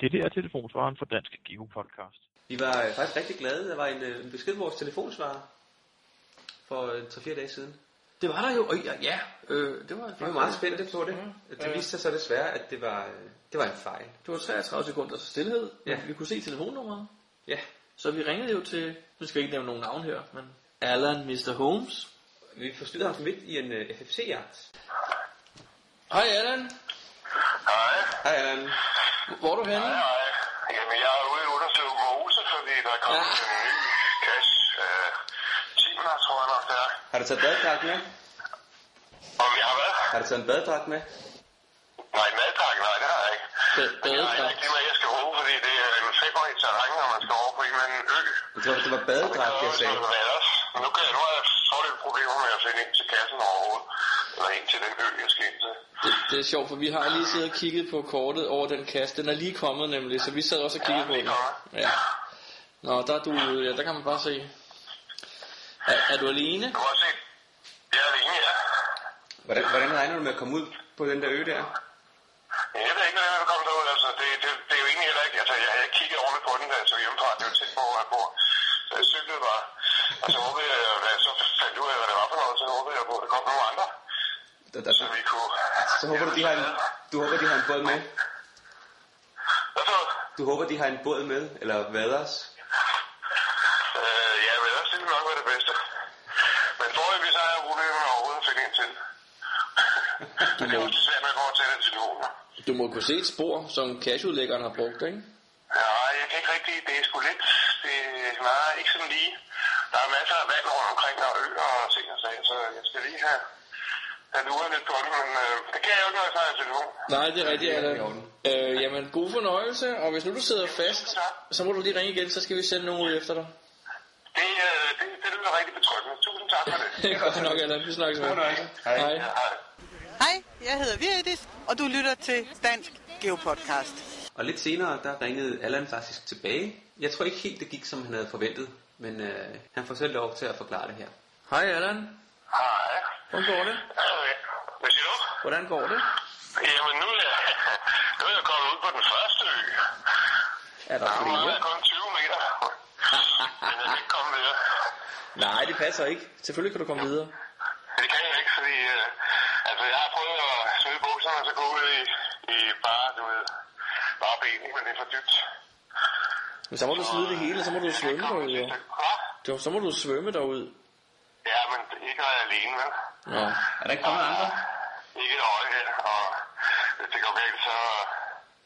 Speaker 5: Dette er telefonsvaren for Dansk Geo Podcast.
Speaker 2: Vi var øh, faktisk rigtig glade. Der var en, øh, en besked på vores telefonsvarer for øh, 3-4 dage siden.
Speaker 3: Det var der jo, og ja, ja øh, det var Mm,
Speaker 2: Vi var meget spændte på det. Det viste sig så desværre, at det var, øh, det var en fejl.
Speaker 3: Det var 33 sekunder til stillhed.
Speaker 2: Ja.
Speaker 3: Ja. Vi kunne se telefonnummeret.
Speaker 2: Ja,
Speaker 3: Så vi ringede jo til, nu skal jeg ikke nævne nogen navn her, men Alan Mr. Holmes.
Speaker 2: vi forstyrrede ham midt i en øh, FFC-jagt.
Speaker 3: Hej Alan,
Speaker 2: Hej Allan.
Speaker 3: hvor er du henne?
Speaker 6: Nej, jamen jeg er ude og undersøge huset, fordi der er
Speaker 2: Ah.
Speaker 6: kommet
Speaker 3: Ja.
Speaker 6: en ny cash. Øh, timer, tror jeg nok, det er.
Speaker 2: Har du taget badedragt med?
Speaker 6: Om jeg har været?
Speaker 2: Har du taget en badedragt med?
Speaker 6: Nej, madpakke, nej, det har jeg ikke.
Speaker 3: Ba-
Speaker 6: Jeg har
Speaker 3: badedragt.
Speaker 6: ikke lige med, jeg skal bruge, fordi det er en femårig terræn, og man skal over på en eller anden ø.
Speaker 2: Jeg tror, det var badedragt, jeg sagde.
Speaker 6: Men ellers, nu, kan jeg, nu har jeg store problemer med at finde ind til kassen overhovedet. eller ind til den ø, jeg skal ind til.
Speaker 3: Det, det er sjovt, for vi har lige siddet og kigget på kortet over den kasse. Den er lige kommet nemlig, så vi sad også og kiggede
Speaker 6: Ja,
Speaker 3: på
Speaker 6: lige
Speaker 3: den.
Speaker 6: kommet.
Speaker 3: Ja. Nå, der er du ude. Ja, der kan man bare se. Er, er du alene?
Speaker 6: Du har set, jeg er alene, ja.
Speaker 2: Hvordan, hvordan regner du med at komme ud på den der ø der?
Speaker 6: Men Jeg ved ikke, hvordan jeg vil komme derud. Altså, det, det, det, er jo egentlig heller ikke... Altså, jeg, jeg kiggede ordentligt på den, da jeg tog altså, hjemmefra. Det er jo tæt på, hvor øh, jeg bor. Så jeg cyklede bare. Og så håbede Altså, jeg, da jeg så fandt ud af, hvad det var for noget, så håbede jeg på, at der kom nogle andre,
Speaker 2: der, der
Speaker 6: så vi kunne...
Speaker 2: så håber du, de har en, du håber, de har en båd med.
Speaker 6: Hvad så?
Speaker 2: Du håber, de har en båd med, eller vaders.
Speaker 6: Øh, ja, men ellers ville det nok være det bedste. Men forrige, så har jeg problemer med overhovedet at finde en til. Men det er jo svært med at gå til den telefon.
Speaker 3: Du må kunne se et spor, som cashudlæggeren har brugt, ikke?
Speaker 6: Ja, jeg kan ikke rigtig. Det er sgu lidt. Det er nej, ikke sådan lige. Der er masser af vand rundt omkring og øer og ting og sager, så jeg skal lige have, have luret lidt på det, men øh, det kan jeg jo ikke, når jeg snakker i telefon.
Speaker 3: Nej, det er rigtigt,
Speaker 2: det er
Speaker 3: Allan.
Speaker 2: i orden.
Speaker 3: Øh, jamen, god fornøjelse, og hvis nu du sidder fast, så må du lige ringe igen, så skal vi sende nogen ud efter dig.
Speaker 6: Det, øh, det, det lyder rigtig betryggende. Tusind tak for det.
Speaker 3: Godt nok, Allan. Vi snakkes med. Hej. Hej.
Speaker 6: Ja, hej.
Speaker 7: Hej, jeg hedder Virdis, og du lytter til Dansk Geopodcast.
Speaker 2: Og lidt senere, der ringede Allan faktisk tilbage. Jeg tror ikke helt, det gik, som han havde forventet. Men øh, han får selv lov til at forklare det her.
Speaker 3: Hej, Allan.
Speaker 6: Hej.
Speaker 3: Hvordan går det?
Speaker 6: Øh, Hvad siger du?
Speaker 3: Hvordan går det?
Speaker 6: Jamen, nu er, jeg, nu er jeg kommet ud på den første ø.
Speaker 3: Er der
Speaker 6: Der er meget,
Speaker 3: flere?
Speaker 6: kun 20 meter. Men jeg kan ikke komme videre.
Speaker 3: Nej, det passer ikke. Selvfølgelig kan du komme videre.
Speaker 6: Det kan jeg ikke, fordi øh, altså, jeg har prøvet at smide bukserne og så gå ud i, i bare, du ved, bare ben, men det er for dybt.
Speaker 3: Men så må du smide det hele, så må du svømme
Speaker 6: Kom,
Speaker 3: derud. jo.
Speaker 6: sidste ø. Hva?
Speaker 3: Jo, så må du svømme derud.
Speaker 6: Ja, men ikke når jeg er alene, vel?
Speaker 3: Nå.
Speaker 2: Er der ikke kommet andre?
Speaker 6: Ikke et øje her, og hvis det går galt, så...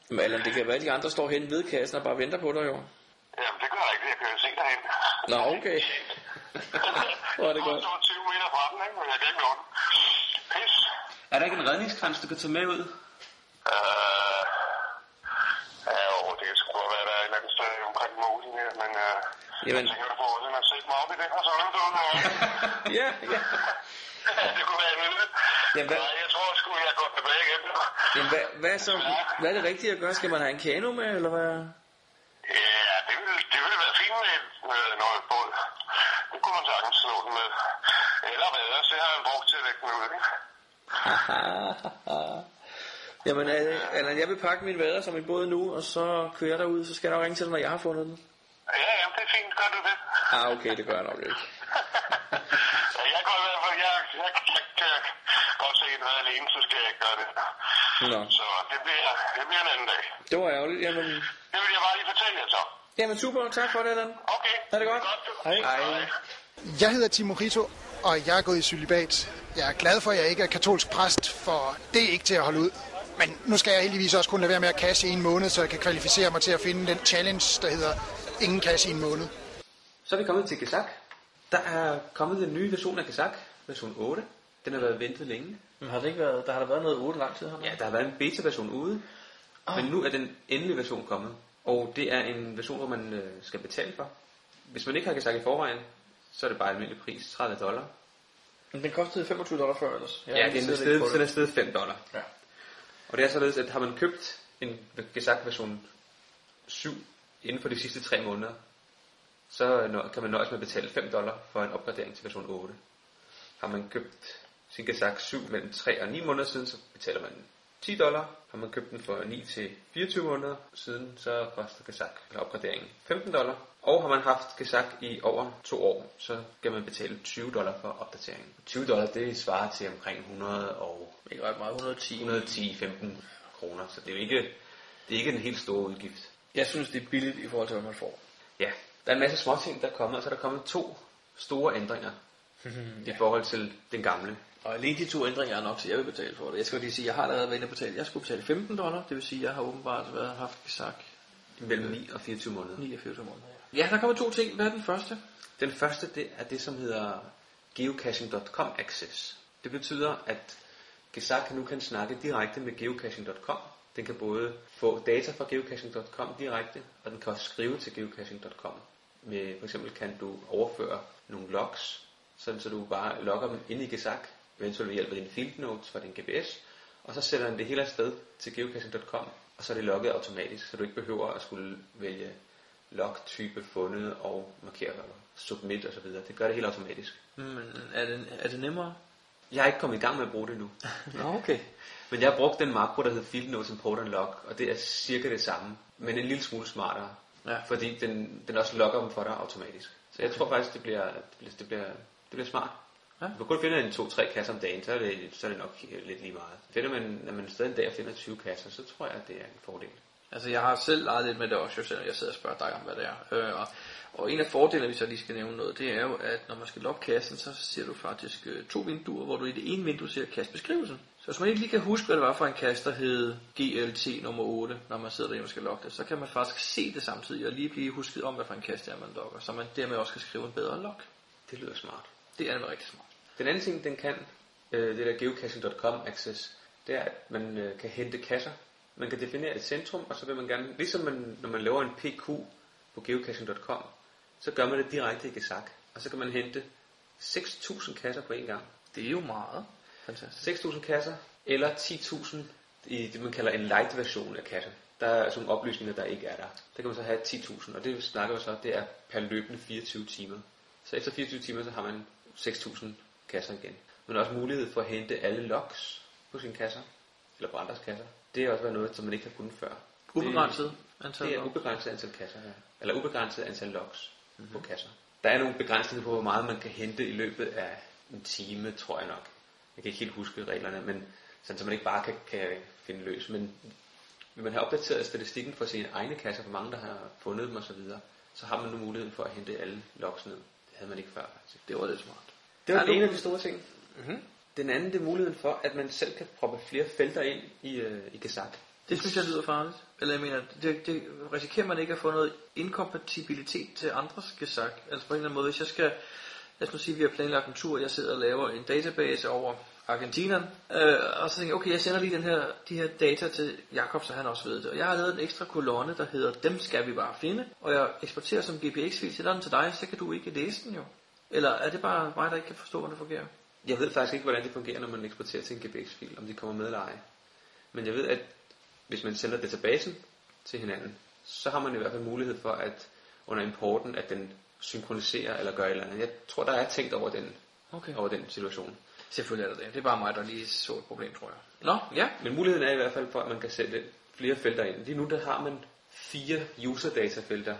Speaker 3: Men Allan, det kan være, at de andre står hen ved kassen og bare venter på dig, jo.
Speaker 6: Jamen, det gør jeg ikke, jeg kan jo se derhen.
Speaker 3: Nå, okay. Hvor er det godt.
Speaker 6: Jeg står 20 meter fra den, ikke? men jeg kan ikke nå den. Pis.
Speaker 2: Er der ikke en redningskrans, du kan tage med ud?
Speaker 6: Øh, ja, jo, det kan sgu godt være, at der er et eller andet sted omkring mosen her, men øh,
Speaker 3: Jamen.
Speaker 6: jeg tænker du på, at man sætter mig op i den, og så er det ud
Speaker 3: Ja, ja.
Speaker 6: Det kunne være en lille.
Speaker 3: Jamen, hvad-
Speaker 6: Nej, jeg tror sgu, jeg går tilbage igen.
Speaker 3: Jamen, hvad, hvad, så, hvad er det rigtige at gøre? Skal man have en kano med, eller hvad?
Speaker 6: Ja, det ville, det ville være fint med øh, noget båd. Det kunne man sagtens slå den med. Eller hvad, ellers, det har han brugt til at lægge den ud, ikke?
Speaker 3: Jamen, øh, Allan, jeg vil pakke min vader som en båd nu, og så kører jeg derud, så skal jeg nok ringe til dig, når jeg har fundet den.
Speaker 6: Ja, jamen, det er fint, gør du det.
Speaker 3: Ah, okay, det gør jeg nok ikke.
Speaker 6: Ja, jeg går i hvert fald, jeg, jeg, jeg, jeg kan godt se, at jeg er alene, så skal jeg ikke gøre det.
Speaker 3: Nå.
Speaker 6: Så det bliver, det bliver en anden dag.
Speaker 3: Det var ærgerligt. Jamen,
Speaker 6: Det vil jeg bare lige fortælle jer så.
Speaker 3: jamen super. Tak for det, Allan.
Speaker 6: Okay.
Speaker 3: Ha' det godt.
Speaker 6: Hej.
Speaker 2: Hej.
Speaker 8: Jeg hedder Timo Rito, og jeg er gået i celibat. Jeg er glad for, at jeg ikke er katolsk præst, for det er ikke til at holde ud. Men nu skal jeg heldigvis også kun lade være med at kasse i en måned, så jeg kan kvalificere mig til at finde den challenge, der hedder ingen kasse i en måned.
Speaker 2: Så er vi kommet til Gazak. Der er kommet den nye version af Gazak, version 8. Den har været ventet længe.
Speaker 3: Men har det ikke været, der har der Ah. været noget 8 lang tid her?
Speaker 2: Ja, der har været en beta-version ude, oh. men nu er den endelige version kommet. Og det er en version, hvor man øh, skal betale for. Hvis man ikke har Gazak i forvejen, så er det bare almindelig pris, 30 dollar.
Speaker 3: Men den kostede 25 dollar før ellers. Jeg
Speaker 2: Ja, det er
Speaker 3: inviterede
Speaker 2: en
Speaker 3: lidt
Speaker 2: sted,
Speaker 3: på
Speaker 2: så er det sted 5 dollar.
Speaker 3: Ja.
Speaker 2: Og det er således, at har man købt en Gazak version 7 inden for de sidste 3 måneder, så øh, nø- kan man nøjes med at betale 5 dollar for en opgradering til version 8. Har man købt sin Gazak 7 mellem 3 og 9 måneder siden, så betaler man 10 dollar. Har man købt den for 9 til 24 måneder siden, så koster Gazak eller opgraderingen 15 dollar. Og har man haft Gazak i over 2 år, så skal man betale 20 dollar for opdateringen. 20 dollar, det svarer til omkring 100 og
Speaker 3: Ikke ret meget, 110.
Speaker 2: 110-15 kroner, så det er jo ikke, det er ikke den helt store udgift.
Speaker 3: Jeg synes, det er billigt i forhold til, hvad man får.
Speaker 2: Ja, der er en masse småting, der er kommet, og så er der kommet to store ændringer i forhold til den gamle.
Speaker 3: Og alene de to ændringer er nok til, at jeg vil betale for det. Jeg skal lige sige, jeg har allerede været inde og betale. Jeg skulle betale 15 dollar, det vil sige, at jeg har åbenbart været, haft Gazak
Speaker 2: Mellem 9 og 24 måneder.
Speaker 3: 89 om måneden. Ja, der kommer to ting. Hvad er den første?
Speaker 2: Den første, det er det, som hedder geocaching.com access. Det betyder, at Gesak nu kan snakke direkte med geocaching.com. Den kan både få data fra geocaching.com direkte, og den kan også skrive til geocaching.com. Med, for eksempel kan du overføre nogle logs, sådan så du bare logger dem ind i Gesak, eventuelt ved hjælp af dine field notes fra din GPS, og så sender den det hele afsted til geocaching.com, og så er det logget automatisk, så du ikke behøver at skulle vælge log-type fundet og markere og submit osv. Det gør det helt automatisk.
Speaker 3: Hmm, Men er det, er det nemmere?
Speaker 2: Jeg er ikke kommet i gang med at bruge det nu.
Speaker 3: Nå, okay.
Speaker 2: Men jeg har brugt den makro, der hedder Field Notes Import and Log, og det er cirka det samme, men en lille smule smartere.
Speaker 3: Ja.
Speaker 2: Fordi den, den også logger dem for dig automatisk. Så jeg tror faktisk, det bliver, det bliver, det bliver, det bliver smart.
Speaker 3: Ja.
Speaker 2: Ja. Du kun finder en 2-3 kasser om dagen, så er, det, så er det nok lidt lige meget. Finder man, at man stadig en dag finder 20 kasser, så tror jeg, at det er en fordel.
Speaker 3: Altså, jeg har selv leget lidt med det også, jo, selvom jeg sidder og spørger dig om, hvad det er. Øh, og, og en af fordelene, hvis jeg lige skal nævne noget, det er jo, at når man skal logge kassen, så ser du faktisk øh, to vinduer, hvor du i det ene vindue ser kastbeskrivelsen. Så hvis man ikke lige kan huske, hvad det var for en kast, der hed GLT nummer 8, når man sidder derhjemme og skal logge det, så kan man faktisk se det samtidig og lige blive husket om, hvad for en kast det er, man logger, så man dermed også kan skrive en bedre log.
Speaker 2: Det lyder smart.
Speaker 3: Det er nemlig rigtig smart.
Speaker 2: Den anden ting, den kan, øh, det der geocaching.com access, det er, at man øh, kan hente kasser. Man kan definere et centrum, og så vil man gerne, ligesom man, når man laver en PQ på geocaching.com, så gør man det direkte i Gesak. Og så kan man hente 6.000 kasser på en gang.
Speaker 3: Det er jo meget. Fantastisk.
Speaker 2: 6.000 kasser, eller 10.000 i det, man kalder en light version af kasser. Der er sådan nogle oplysninger, der ikke er der. Der kan man så have 10.000, og det vi snakker vi så, det er per løbende 24 timer. Så efter 24 timer, så har man 6.000 kasser igen. Man har også mulighed for at hente alle logs på sine kasser, eller på andres kasser. Det har også været noget, som man ikke har kunnet før.
Speaker 3: Ubegrænset antal
Speaker 2: Det er
Speaker 3: log.
Speaker 2: ubegrænset antal kasser, ja. Eller ubegrænset antal logs mm-hmm.
Speaker 3: Mhm.
Speaker 2: på kasser. Der er nogle begrænsninger på, hvor meget man kan hente i løbet af en time, tror jeg nok. Jeg kan ikke helt huske reglerne, men sådan, så man ikke bare kan, kan finde løs. Men vil man have opdateret statistikken for sine egne kasser, hvor mange der har fundet dem osv., så har man nu muligheden for at hente alle logs ned. Det havde man ikke før, faktisk.
Speaker 3: Det var lidt smart.
Speaker 2: Det var
Speaker 3: Er
Speaker 2: den
Speaker 3: du-
Speaker 2: ene af de store ting. Mm-hmm. Den anden, det er muligheden for, at man selv kan proppe flere felter ind i, øh, i Gazak.
Speaker 3: Det synes jeg lyder farligt. Eller jeg mener, det, det risikerer man ikke at få noget inkompatibilitet til andres gesag. Altså på en eller anden måde, hvis jeg skal, lad os nu sige, at vi har planlagt en tur, jeg sidder og laver en database over Argentina, øh, og så tænker jeg, okay, jeg sender lige den her, de her data til Jakob, så han også ved det. Og jeg har lavet en ekstra kolonne, der hedder, dem skal vi bare finde, og jeg eksporterer som GPX-fil, sender den til dig, så kan du ikke læse den jo. Eller er det bare mig, der ikke kan forstå, hvordan det fungerer?
Speaker 2: Jeg ved faktisk ikke, hvordan det fungerer, når man eksporterer til en GPX-fil, om de kommer med eller ej. Men jeg ved, at hvis man sender databasen til hinanden, så har man i hvert fald mulighed for, at under importen, at den synkroniserer eller gør et eller andet. Jeg tror, der er tænkt over den,
Speaker 3: Okay.
Speaker 2: over den situation.
Speaker 3: Selvfølgelig er det det. Det er bare mig, der lige så et problem, tror jeg. Nå, ja.
Speaker 2: Men muligheden er i hvert fald for, at man kan sætte flere felter ind. Lige nu der har man fire user data felter,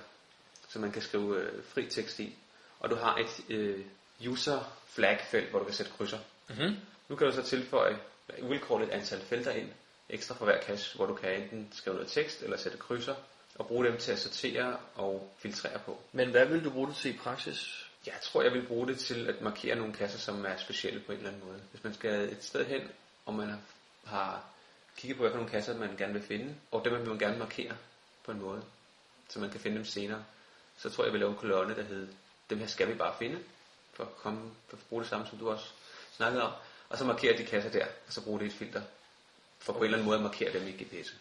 Speaker 2: som man kan skrive øh, fri tekst i. Og du har et øh, user flag felt, hvor du kan sætte krydser.
Speaker 3: Mm-hmm.
Speaker 2: Nu kan du så tilføje eller uvilkårligt antal felter ind, ekstra for hver kasse, hvor du kan enten skrive noget tekst eller sætte krydser, og bruge dem til at sortere og filtrere på.
Speaker 3: Men hvad vil du bruge det til i praksis?
Speaker 2: Jeg tror, jeg vil bruge det til at markere nogle kasser, som er specielle på en eller anden måde. Hvis man skal et sted hen, og man har- har kigget på, hvilke nogle kasser man gerne vil finde, og dem vil man gerne markere på en måde, så man kan finde dem senere, så tror jeg, jeg vil lave en kolonne, der hedder, dem her skal vi bare finde, for at, komme, for at bruge det samme, som du også snakkede om, og så markere de kasser der, og så bruge det i et filter, for på en eller anden måde at markere dem i GPS'en.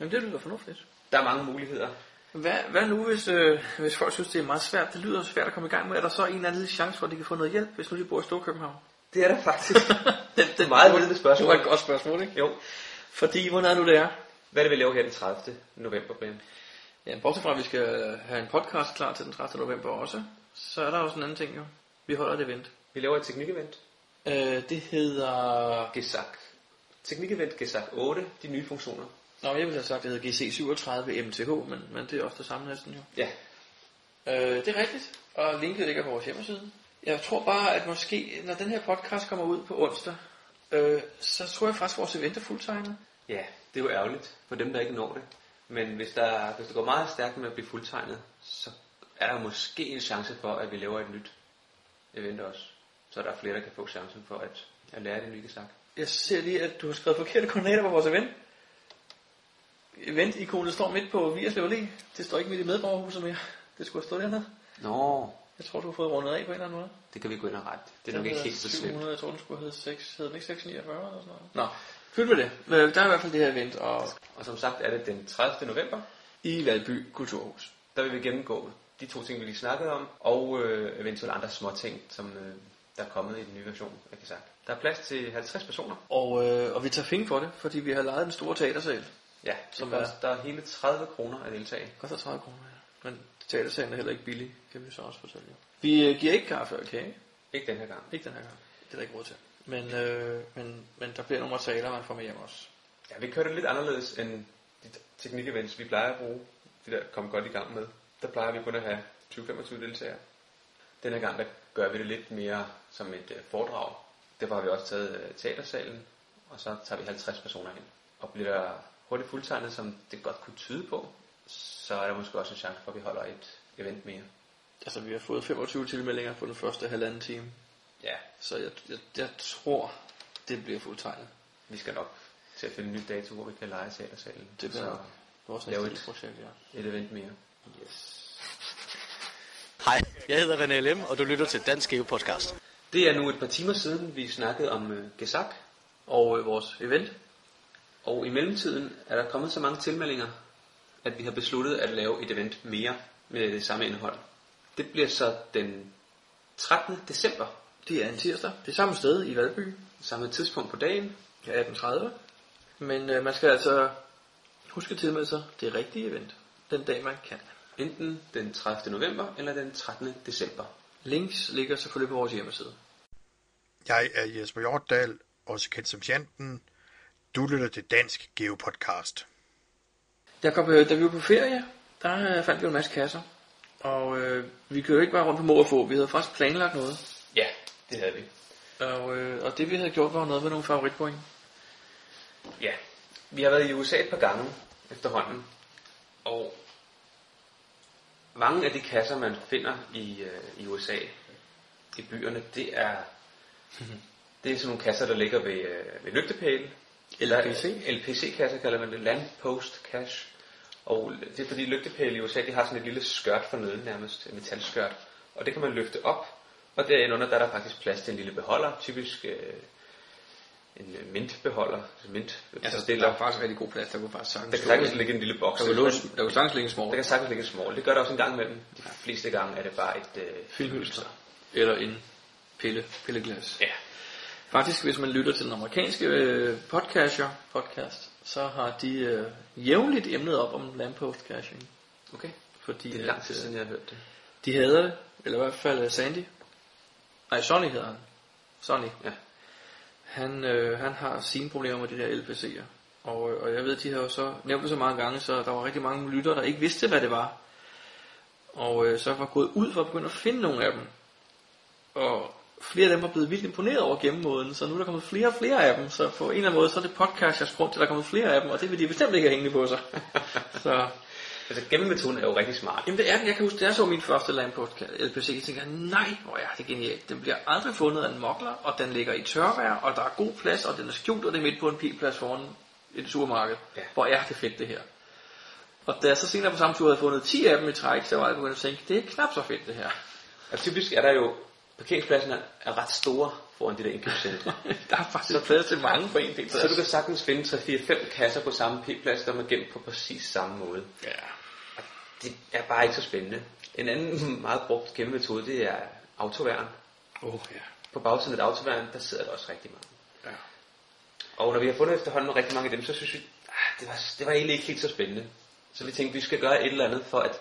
Speaker 3: Jamen det lyder fornuftigt.
Speaker 2: Der er mange muligheder,
Speaker 3: Hvad, hvad nu, hvis, øh, hvis folk synes, det er meget svært? Det lyder svært at komme i gang med. Er der så en eller anden lille chance for, at de kan få noget hjælp, hvis nu de bor i Storkøbenhavn?
Speaker 2: Det er der faktisk. det, er meget vildt spørgsmål.
Speaker 3: Det var et godt spørgsmål, ikke?
Speaker 2: Jo.
Speaker 3: Fordi, hvordan er du det er?
Speaker 2: Hvad er det, vi laver her den 30. november, Brian?
Speaker 3: Ja, bortset fra, at vi skal øh, have en podcast klar til den 30. november også, så er der også en anden ting jo. Vi holder et event.
Speaker 2: Vi laver et teknikevent.
Speaker 3: Øh, det hedder...
Speaker 2: Gesak. Teknikevent Gesak 8, de nye funktioner.
Speaker 3: Nå, jeg ville have sagt, det hedder GC37MTH, men, men det er også det samme næsten jo.
Speaker 2: Ja.
Speaker 3: Øh, det er rigtigt, og linket ligger på vores hjemmeside. Jeg tror bare, at måske, når den her podcast kommer ud på onsdag, øh, så tror jeg faktisk, at vores event er fuldtegnet.
Speaker 2: Ja, det er jo ærgerligt for dem, der ikke når det. Men hvis, der, hvis det går meget stærkt med at blive fuldtegnet, så er der måske en chance for, at vi laver et nyt event også. Så der er flere, der kan få chancen for at, at lære det nye Gesak.
Speaker 3: Jeg ser lige, at du har skrevet forkerte koordinater på vores event. Event-ikonet står midt på Vierslev Allé. Det står ikke midt i medborgerhuset mere. Det skulle have stået dernede.
Speaker 2: Nå,
Speaker 3: Jeg tror, du har fået rundet af på en eller anden måde.
Speaker 2: det kan vi gå ind og rette. Det er nok ikke helt så slemt.
Speaker 3: 700, jeg tror, den skulle hedde 6. Hed den ikke 649 eller sådan noget? Nå, pyt med det. Men Der er i hvert fald det her event, og
Speaker 2: Og som sagt er det den 30. november.
Speaker 3: i Valby Kulturhus.
Speaker 2: Der vil vi gennemgå de to ting, vi lige snakkede om, og øh, eventuelt andre små ting, som øh, der der er kommet i den nye version af Kazak. Der er plads til 50 personer.
Speaker 3: Og, øh, og vi tager penge for det, fordi vi har lejet den store teatersal.
Speaker 2: Ja,
Speaker 3: Som
Speaker 2: som er, der er hele 30 kroner at deltage.
Speaker 3: Det koster 30 kroner, ja. Men teatersalen er heller ikke billig, kan vi så også fortælle jer. Vi øh, giver ikke kaffe og kage.
Speaker 2: Ikke den her gang.
Speaker 3: Ikke den her gang. Det er der ikke råd til. Men, øh, men, men der bliver nogle materialer, man får med hjem også.
Speaker 2: Ja, vi kører det lidt anderledes end de teknikevents, vi plejer at bruge. De der kom godt i gang med. Der plejer vi kun at have 20-25 deltagere. Den her gang, der gør vi det lidt mere som et øh, foredrag. Derfor har vi også taget øh, teatersalen, og så tager vi 50 personer ind. Og bliver der hurtigt fuldtegnet, som det godt kunne tyde på, så er der måske også en chance for, at vi holder et event mere.
Speaker 3: Altså, vi har fået 25 tilmeldinger på den første halvanden time.
Speaker 2: Ja,
Speaker 3: Så jeg, jeg, jeg tror, det bliver fuldtegnet.
Speaker 2: vi skal nok til at finde en ny dato, hvor vi kan lege teatersalen.
Speaker 3: Det bliver
Speaker 2: så
Speaker 3: nok vores
Speaker 2: lave
Speaker 3: næste lille
Speaker 2: et-
Speaker 3: projekt, ja.
Speaker 2: et event mere.
Speaker 4: Hej, jeg hedder René Lem, og du lytter til Dansk Geo Podcast.
Speaker 2: Det er nu et par timer siden, vi snakkede om øh, Gesak
Speaker 3: Og øh, vores event,
Speaker 2: Og i mellemtiden er der kommet så mange tilmeldinger, at vi har besluttet at lave et event mere med det samme indhold. Det bliver så den 13. december,
Speaker 3: det er en tirsdag. Det er samme sted i Valby.
Speaker 2: samme tidspunkt på dagen.
Speaker 3: Ja, 18.30. Men øh, man skal altså huske at tilmelde sig det rigtige event. Den dag, man kan.
Speaker 2: Enten den 30. november eller den 13. december.
Speaker 3: Links ligger selvfølgelig på vores hjemmeside.
Speaker 9: Jeg er Jesper Hjortdal, også kendt som Janten. Du lytter til Dansk Geopodcast.
Speaker 3: Jakob, øh, da vi var på ferie, der øh, fandt vi en masse kasser. Og øh, vi kørte ikke bare rundt på må og få. Vi havde faktisk planlagt noget.
Speaker 2: Ja, det havde vi.
Speaker 3: Og, øh, og det vi havde gjort var noget med nogle favoritpoint.
Speaker 2: Ja, vi har været i USA et par gange efterhånden. Og mange af de kasser, man finder i, øh, i USA, i byerne, det er, det er sådan nogle kasser, der ligger ved, øh, ved lygtepæle.
Speaker 3: LPC.
Speaker 2: LPC-kasser kalder man det, Landpost Cash. Og det er fordi lygtepæle i USA, de har sådan et lille skørt for neden nærmest, et metalskørt. Og det kan man løfte op, og derunder der er der faktisk plads til en lille beholder, typisk øh, en øh, mintbeholder, altså mint,
Speaker 3: Altså, det
Speaker 2: bestiller.
Speaker 3: er faktisk rigtig god plads. Der kunne faktisk sagtens
Speaker 2: Der kan sagtens ligge en lille boks.
Speaker 3: der kunne, låse, der kunne sagtens ligge en
Speaker 2: der
Speaker 3: small
Speaker 2: kan sagtens ligge en small. Det gør der også en gang imellem. De fleste gange er det bare et øh,
Speaker 3: filmhylster. Eller en pille, pilleglas.
Speaker 2: Ja.
Speaker 3: Faktisk, hvis man lytter til den amerikanske øh, podcaster, podcast, så har de øh, jævnligt emnet op om lamppost caching.
Speaker 2: Okay.
Speaker 3: Fordi øh,
Speaker 2: Det er lang tid siden, jeg har hørt det.
Speaker 3: De hader det, eller i hvert fald øh, Sandy. Nej, Sonny hedder han. Sonny.
Speaker 2: Ja.
Speaker 3: Han, øh, han har sine problemer med de der LPC'er. Og, øh, og jeg ved, de har jo så nævnt det så mange gange, så der var rigtig mange lyttere, der ikke vidste, hvad det var. Og øh, så var gået ud for at begynde at finde nogle af dem. Og flere af dem var blevet vildt imponeret over gennemmåden, så nu er der kommet flere og flere af dem. Så på en eller anden måde, så er det podcasters grund til, at der er kommet flere af dem, og det vil de bestemt ikke have hængende på sig. så
Speaker 2: Altså gemmemetoden er jo rigtig smart.
Speaker 3: Jamen det er den. Jeg kan huske, da jeg så min første landport LPC, jeg tænkte, nej, hvor er det genialt. Den bliver aldrig fundet af en mokler, og den ligger i tørvejr, og der er god plads, og den er skjult, og det er midt på en p-plads foran et supermarked.
Speaker 2: Ja.
Speaker 3: Hvor er det fedt det her. Og da jeg så senere på samme tur havde fundet 10 af dem i træk, så var jeg begyndt at tænke, det er knap så fedt det her.
Speaker 2: Og typisk er der jo, parkeringspladsen er, er ret store foran de der indkøbscentre.
Speaker 3: der er faktisk plads til mange på en p-plads.
Speaker 2: så du kan sagtens finde 3-4-5 kasser på samme p-plads, der er gemt på præcis samme måde.
Speaker 3: Ja.
Speaker 2: Det er bare ikke så spændende. En anden meget brugt gemmemetode, det er autoværen.
Speaker 3: Åh oh, ja.
Speaker 2: På bagsiden af et autoværen, der sidder der også rigtig mange.
Speaker 3: ja.
Speaker 2: Og når vi har fundet efterhånden rigtig mange af dem, så synes vi, ah, det var, det var egentlig ikke helt så spændende. Så vi tænkte, vi skal gøre et eller andet for at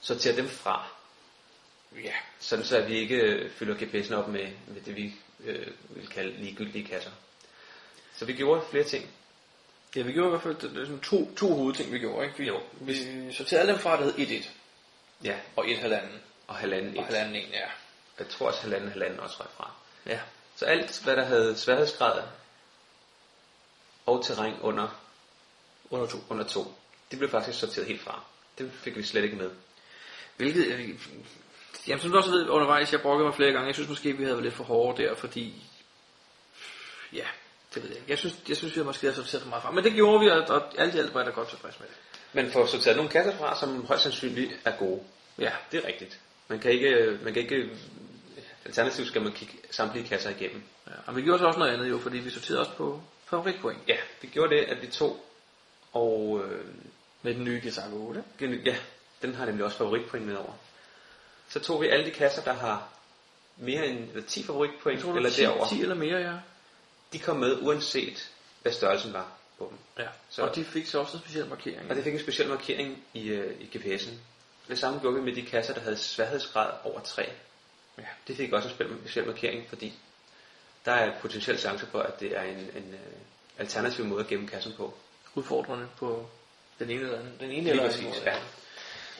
Speaker 2: sortere dem fra.
Speaker 3: Ja.
Speaker 2: Sådan så at vi ikke øh, fylder GPS'en op med, med det, vi øh, vil kalde ligegyldige kasser. Så vi gjorde flere ting.
Speaker 3: Ja, vi gjorde i hvert fald det, det er sådan to, to hovedting, vi gjorde. Ikke? Vi, jo. vi sorterede alle dem fra, der hed 1-1
Speaker 2: Ja,
Speaker 3: og 1,5.
Speaker 2: og halvanden
Speaker 3: Og
Speaker 2: et.
Speaker 3: halvanden en, ja.
Speaker 2: Jeg tror også halvanden halvanden også røg fra.
Speaker 3: Ja.
Speaker 2: Så alt, hvad der havde sværhedsgrad og terræn under, under, to. under to, det blev faktisk sorteret helt fra. Det fik vi slet ikke med.
Speaker 3: Hvilket, øh, jamen som du også ved undervejs, jeg brokkede mig flere gange. Jeg synes måske, vi havde været lidt for hårde der, fordi... Ja, det ved jeg ikke. Jeg synes, jeg synes vi havde måske havde sorteret for meget fra. Men det gjorde vi, og, og alt i alt var jeg da godt tilfreds med det.
Speaker 2: Man får sorteret nogle kasser fra, som højst sandsynligt er gode.
Speaker 3: Ja,
Speaker 2: Det er rigtigt. Man kan ikke, man kan ikke alternativt skal man kigge samtlige kasser igennem.
Speaker 3: ja. Og vi gjorde så også noget andet jo, fordi vi sorterede også på favoritpoint.
Speaker 2: Ja, vi gjorde det, at vi tog, og øh,
Speaker 3: Med den nye Gesak 8.
Speaker 2: gen- ja, den har nemlig også favoritpoint med over. Så tog vi alle de kasser, der har mere end eller 10 favoritpoint
Speaker 3: Jeg tror, det
Speaker 2: eller
Speaker 3: var
Speaker 2: derover.
Speaker 3: 10, 10 eller mere, ja.
Speaker 2: De kom med uanset hvad størrelsen var på dem.
Speaker 3: ja.
Speaker 2: Så-
Speaker 3: Så. Og de fik så også en speciel markering.
Speaker 2: Og det fik en speciel markering i, øh, i GPS'en. Det samme gjorde vi med de kasser, der havde sværhedsgrad over 3. Ja. Det fik også en spil- speciel markering, fordi der er potentiel chance for, at det er en, en øh, alternativ måde at gemme kassen på.
Speaker 3: Udfordrende på den ene eller anden. Den ene
Speaker 2: Lige
Speaker 3: eller anden
Speaker 2: præcis,
Speaker 3: måde.
Speaker 2: ja.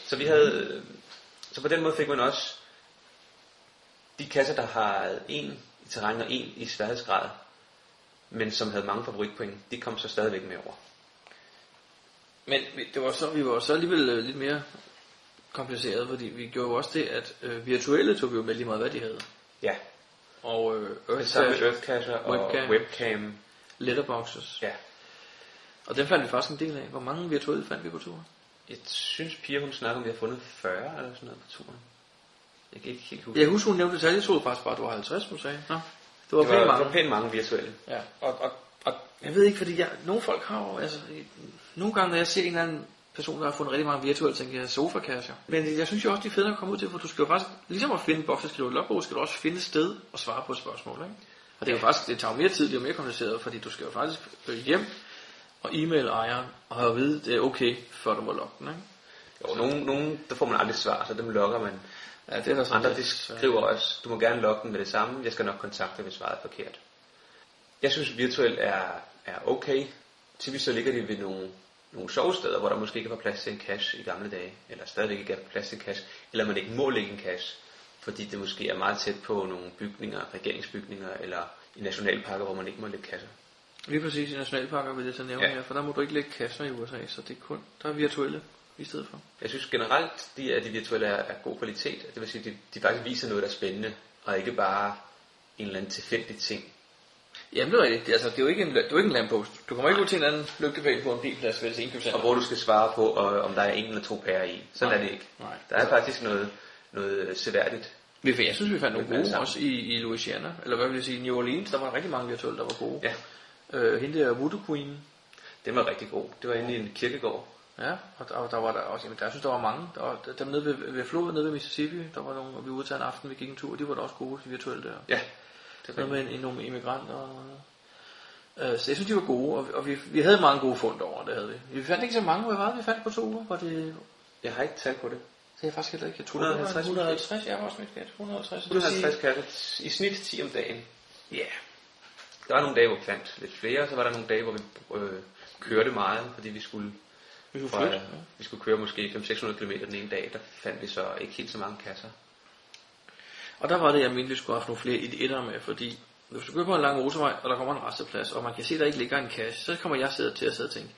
Speaker 2: Så vi havde... øh, Så på den måde fik man også de kasser, der har en i terræn og en i sværhedsgrad, men som havde mange favoritpoint, de kom så stadigvæk med over.
Speaker 3: Men vi- det var så, vi var så alligevel øh, lidt mere kompliceret, fordi vi gjorde jo også det, at øh, virtuelle tog vi jo med lige meget, hvad de havde.
Speaker 2: Ja,
Speaker 3: Og øh,
Speaker 2: det samme med
Speaker 3: Earthdash,
Speaker 2: Earthcasher og webcam.
Speaker 3: Webcam.
Speaker 2: webcam.
Speaker 3: letterboxes.
Speaker 2: Ja,
Speaker 3: Og den fandt vi faktisk en del af. Hvor mange virtuelle fandt vi på turen?
Speaker 2: Jeg synes, Pia hun snakker om, at vi har fundet 40 eller sådan noget på turen. Jeg kan ikke helt huske.
Speaker 3: Jeg husker, hun nævnte tal. Jeg troede faktisk bare, at du var 50, hun sagde. Nå, det var,
Speaker 2: det var,
Speaker 3: pænt
Speaker 2: det var
Speaker 3: mange.
Speaker 2: pænt mange virtuelle.
Speaker 3: Ja. Og, og, og, jeg ved ikke, fordi jeg, nogle folk har jo, altså, nogle gange, når jeg ser en eller anden person, der har fundet rigtig mange virtuelle, tænker jeg sofakasser. Men jeg synes jo også, de er federe at komme ud til, for du skal jo faktisk, ligesom at finde en boks, der skal du i logbog, skal du også finde et sted og svare på et spørgsmål, ikke? Og det er jo faktisk, det tager jo mere tid, det er jo mere kompliceret, fordi du skal jo faktisk øh, hjem og e-mail ejeren og have at vide, det er okay, før du må logge den, ikke?
Speaker 2: Jo, nogle, nogle, der får man aldrig svar, så dem lokker man.
Speaker 3: Ja, det er der sådan
Speaker 2: Andre
Speaker 3: lidt,
Speaker 2: de
Speaker 3: så-
Speaker 2: skriver også, du må gerne logge den med det samme, jeg skal nok kontakte, hvis svaret er forkert. Jeg synes, virtuel er, er okay. Typisk så ligger de ved nogle, nogle sovesteder, hvor der måske ikke var plads til en cache i gamle dage, eller stadigvæk ikke er plads til en cache, eller man ikke må lægge en cache, fordi det måske er meget tæt på nogle bygninger, regeringsbygninger, eller i nationalparker, hvor man ikke må lægge kasser.
Speaker 3: Lige præcis i nationalparker vil jeg så nævne
Speaker 2: Ja.
Speaker 3: ja. her, for der må du ikke lægge kasser i USA, så det er kun, der er virtuelle i stedet for.
Speaker 2: Jeg synes generelt, de, at de virtuelle er, er god kvalitet. Det vil sige, at de, de faktisk viser noget, der er spændende, og ikke bare en eller anden tilfældig ting.
Speaker 3: Jamen det er rigtigt. Altså, det er jo ikke en, det er jo ikke en lamppost. Du kommer ikke ud til en anden lygtepæl på en bilplads ved et
Speaker 2: Og
Speaker 3: indkøbscenter.
Speaker 2: hvor du skal svare på, og, om der er en eller to pærer i. Sådan
Speaker 3: Nej.
Speaker 2: er det ikke.
Speaker 3: Nej.
Speaker 2: Der er faktisk noget, noget øh, seværdigt.
Speaker 3: Vi, jeg synes, vi fandt nogle
Speaker 2: Vi fandt
Speaker 3: gode
Speaker 2: sammen.
Speaker 3: også i, i Louisiana. Eller hvad vil jeg sige, New Orleans, der var rigtig mange virtuelle, der var gode.
Speaker 2: Ja,
Speaker 3: Øh, hende der Voodoo Queen.
Speaker 2: den var rigtig god. Det var inde i en kirkegård.
Speaker 3: Ja, og der, og der var der også, jamen der, jeg synes, der var mange. Der var, dem nede ved, ved floden, nede ved Mississippi, der var nogle, og vi var ude til en aften, vi gik en tur, og de var da også gode, de virtuelle der.
Speaker 2: Ja,
Speaker 3: Det noget med en, en, nogle immigranter og noget. Øh, så jeg synes, de var gode, og, og vi, vi havde mange gode fund over, det havde vi. Vi fandt ikke så mange, hvor meget vi fandt på to uger, var det...
Speaker 2: jeg har ikke tal på det.
Speaker 3: Det er jeg faktisk heller ikke. Jeg tror,
Speaker 2: 150
Speaker 3: det var 150, jeg var også mit gæt. 150, det vil
Speaker 2: 150
Speaker 3: sige-
Speaker 2: katte. I snit 10 om dagen.
Speaker 3: Ja. Yeah.
Speaker 2: Der var nogle dage, hvor vi fandt lidt flere, og så var der nogle dage, hvor vi øh, kørte meget, fordi vi skulle, vi
Speaker 3: skulle flytte, ja.
Speaker 2: vi skulle køre måske 500-600 km den ene dag. Der fandt vi så ikke helt så mange kasser.
Speaker 3: Og der var det, jeg mente, vi skulle have haft nogle flere idéer med, fordi hvis du kører på en lang motorvej, og der kommer en resteplads, og man kan se, at der ikke ligger en kasse, så kommer jeg sidde til at sidde og tænke,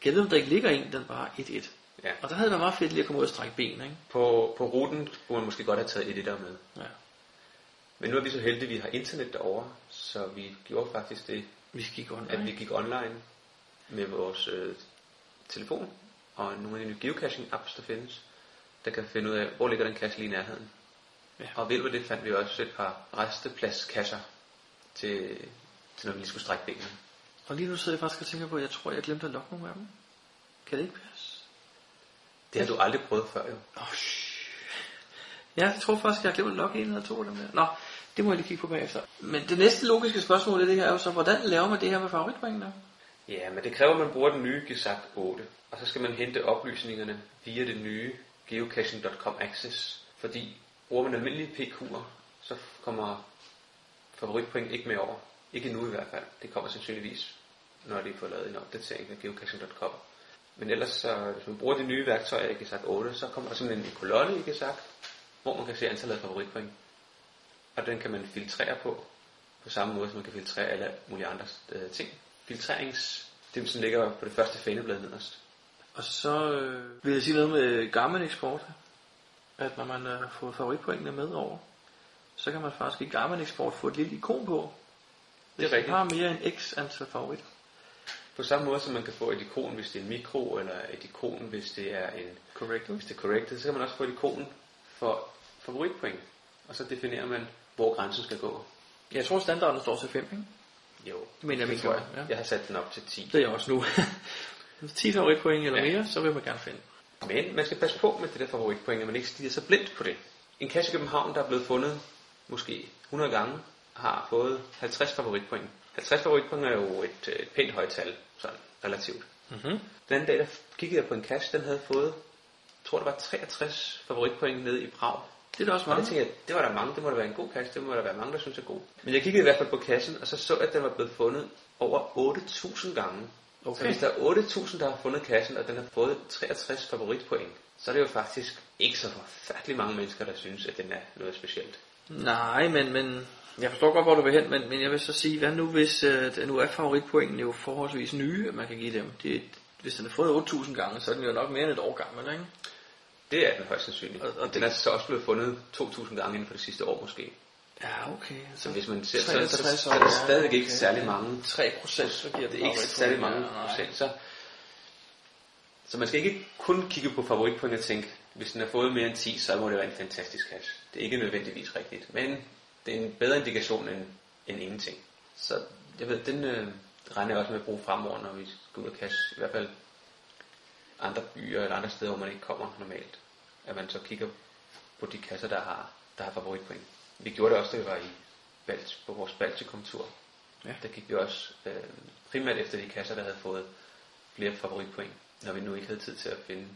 Speaker 3: kan jeg vide, om der ikke ligger en, den bare 1-1.
Speaker 2: Ja.
Speaker 3: Og der havde det været meget fedt lige at komme ud og strække ben, ikke?
Speaker 2: På, på ruten kunne man måske godt have taget et der med.
Speaker 3: Ja.
Speaker 2: Men nu er vi så heldige, at vi har internet derovre, så vi gjorde faktisk det,
Speaker 3: Vi gik godt.
Speaker 2: at vi gik online med vores øh, telefon og nogle af de geocaching-apps, der findes, der kan finde ud af, hvor ligger den cache lige i nærheden. Ja.
Speaker 3: Ja.
Speaker 2: Og ved du, det fandt vi også et par resteplads-kasser til, til når vi lige skulle strække benene.
Speaker 3: Og lige nu sidder jeg faktisk og tænker på, at jeg tror, jeg glemte at lokke nogle af dem. Kan det ikke passe?
Speaker 2: Det har du aldrig prøvet før, jo.
Speaker 3: Ja, jeg tror faktisk, jeg har glemt at lokke en eller to af dem der. Nå, det må jeg lige kigge på bagefter. Men det næste logiske spørgsmål i det her er jo så, hvordan laver man det her med favoritpoengene?
Speaker 2: Ja, men det kræver, at man bruger den nye Gesagt 8, og så skal man hente oplysningerne via det nye geocaching.com access, fordi bruger man almindelige PQ'er, så kommer favoritpoint ikke med over. Ikke nu i hvert fald. Det kommer sandsynligvis, når de får lavet en opdatering af geocaching.com. Men ellers, så, hvis man bruger de nye værktøjer i Gesagt 8, så kommer der sådan en kolonne i Gesagt, hvor man kan se antallet af favoritpoint. Og den kan man filtrere på, på samme måde, som man kan filtrere alle mulige andre øh, ting. Filtrerings, det som ligger på det første faneblad nederst.
Speaker 3: Og så øh, vil jeg sige noget med Garmin Export. At når man øh, får favoritpoengene med over, så kan man faktisk i Garmin Export få et lille ikon på.
Speaker 2: Det er
Speaker 3: Man
Speaker 2: rigtigt.
Speaker 3: har mere end x antal favoritter.
Speaker 2: På samme måde, som man kan få et ikon, hvis det er en mikro, eller et ikon, hvis det er en
Speaker 3: Correct.
Speaker 2: hvis det er corrected, så kan man også få et ikon for favoritpoint. Og så definerer man, hvor grænsen skal gå.
Speaker 3: Jeg tror standarden står til 5, ikke?
Speaker 2: Jo,
Speaker 3: mener jeg, min
Speaker 2: tror
Speaker 3: gjorde, ja.
Speaker 2: Jeg har sat den op til 10.
Speaker 3: Det er jeg også nu. 10 favoritpoint eller
Speaker 2: Ja.
Speaker 3: ja. mere, så vil man gerne finde.
Speaker 2: Men man skal passe på med det der favoritpoint, at man ikke stiger så blindt på det. En kasse i København, der er blevet fundet måske 100 gange har fået 50 favoritpoint. 50 favoritpoint er jo et øh, pænt højt tal, sådan relativt.
Speaker 3: Mm-hmm.
Speaker 2: Den anden dag, der kiggede jeg på en cash, den havde fået, jeg tror det var 63 favoritpoint nede i Prag.
Speaker 3: Det er da også
Speaker 2: Og det
Speaker 3: mange.
Speaker 2: tænkte jeg, det var der mange, det må da være en god kasse, det må der være mange, der synes er god. Men jeg kiggede i hvert fald på kassen, og så så jeg, at den var blevet fundet over 8.000 gange. Okay. Så
Speaker 3: Okay.
Speaker 2: hvis der er 8.000, der har fundet kassen, og den har fået 63 favoritpoint, så er det jo faktisk ikke så forfærdelig mange mennesker, der synes, at den er noget specielt.
Speaker 3: Nej, men, men jeg forstår godt, hvor du vil hen, men, men jeg vil så sige, hvad nu hvis, øh, det- nu er favoritpoengen jo forholdsvis nye, at man kan give dem. Det, er- hvis den er fået 8.000 gange, så er den jo nok mere end et år gammel, ikke?
Speaker 2: Det er den højst sandsynligt.
Speaker 3: Og-
Speaker 2: Og,
Speaker 3: og
Speaker 2: og den
Speaker 3: det-
Speaker 2: er så også blevet fundet 2.000 gange inden for det sidste år måske.
Speaker 3: Ja, okay.
Speaker 2: Så
Speaker 3: Så
Speaker 2: hvis man ser, så, så, er der- så,
Speaker 3: 63
Speaker 2: så er der
Speaker 3: år, ja,
Speaker 2: stadig ikke
Speaker 3: okay.
Speaker 2: særlig mange
Speaker 3: 3 procent, så giver
Speaker 2: det er ikke særlig mange procent. Så, så man skal ikke kun kigge på favoritpoint og tænke, hvis den har fået mere end 10, så må det være en fantastisk cash. Det er ikke nødvendigvis rigtigt, men det er en bedre indikation end, end ingenting. Så jeg ved, den øh, regner jeg også med at bruge fremover, når vi skal ud og cash. I hvert fald andre byer eller andre steder, hvor man ikke kommer normalt. At man så kigger på de kasser, der har, der har favoritpoint. Vi gjorde det også, da vi var i Balt, på vores Baltikum-tur.
Speaker 3: Ja.
Speaker 2: Ja. Der gik vi også øh, primært efter de kasser, der havde fået flere favoritpoint. Når vi nu ikke havde tid til at finde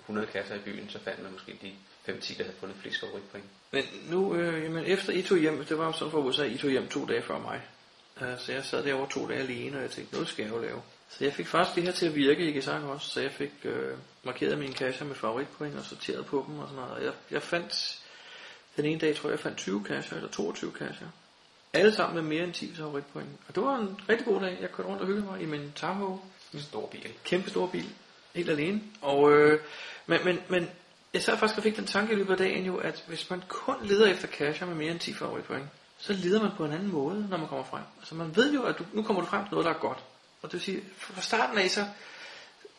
Speaker 2: 100 kasser i byen, så fandt man måske de 5-10, der havde fundet flest favoritpoint.
Speaker 3: Men nu, øh, jamen efter I tog hjem, det var jo sådan for USA, I tog hjem to dage før mig. Øh, Så jeg sad derovre to dage alene, og jeg tænkte, noget skal jeg jo lave. Så jeg fik faktisk det her til at virke, ikke sagt også, så jeg fik øh, markeret mine kasser med favoritpoint og sorteret på dem og sådan noget. Og jeg, jeg fandt, den ene dag tror jeg, jeg fandt 20 kasser eller 22 kasser. Alle sammen med mere end 10 favoritpoint. Og det var en rigtig god dag. Jeg kørte rundt og hyggede mig i min Tahoe
Speaker 2: En stor bil.
Speaker 3: kæmpe stor bil, helt alene. Og, øh, men, men, men jeg sad faktisk og fik den tanke i løbet af dagen jo, at hvis man kun leder efter casher med mere end 10 favoritpoint, så leder man på en anden måde, når man kommer frem. Altså man ved jo, at du, nu kommer du frem til noget, der er godt. Og det vil sige, fra starten af så,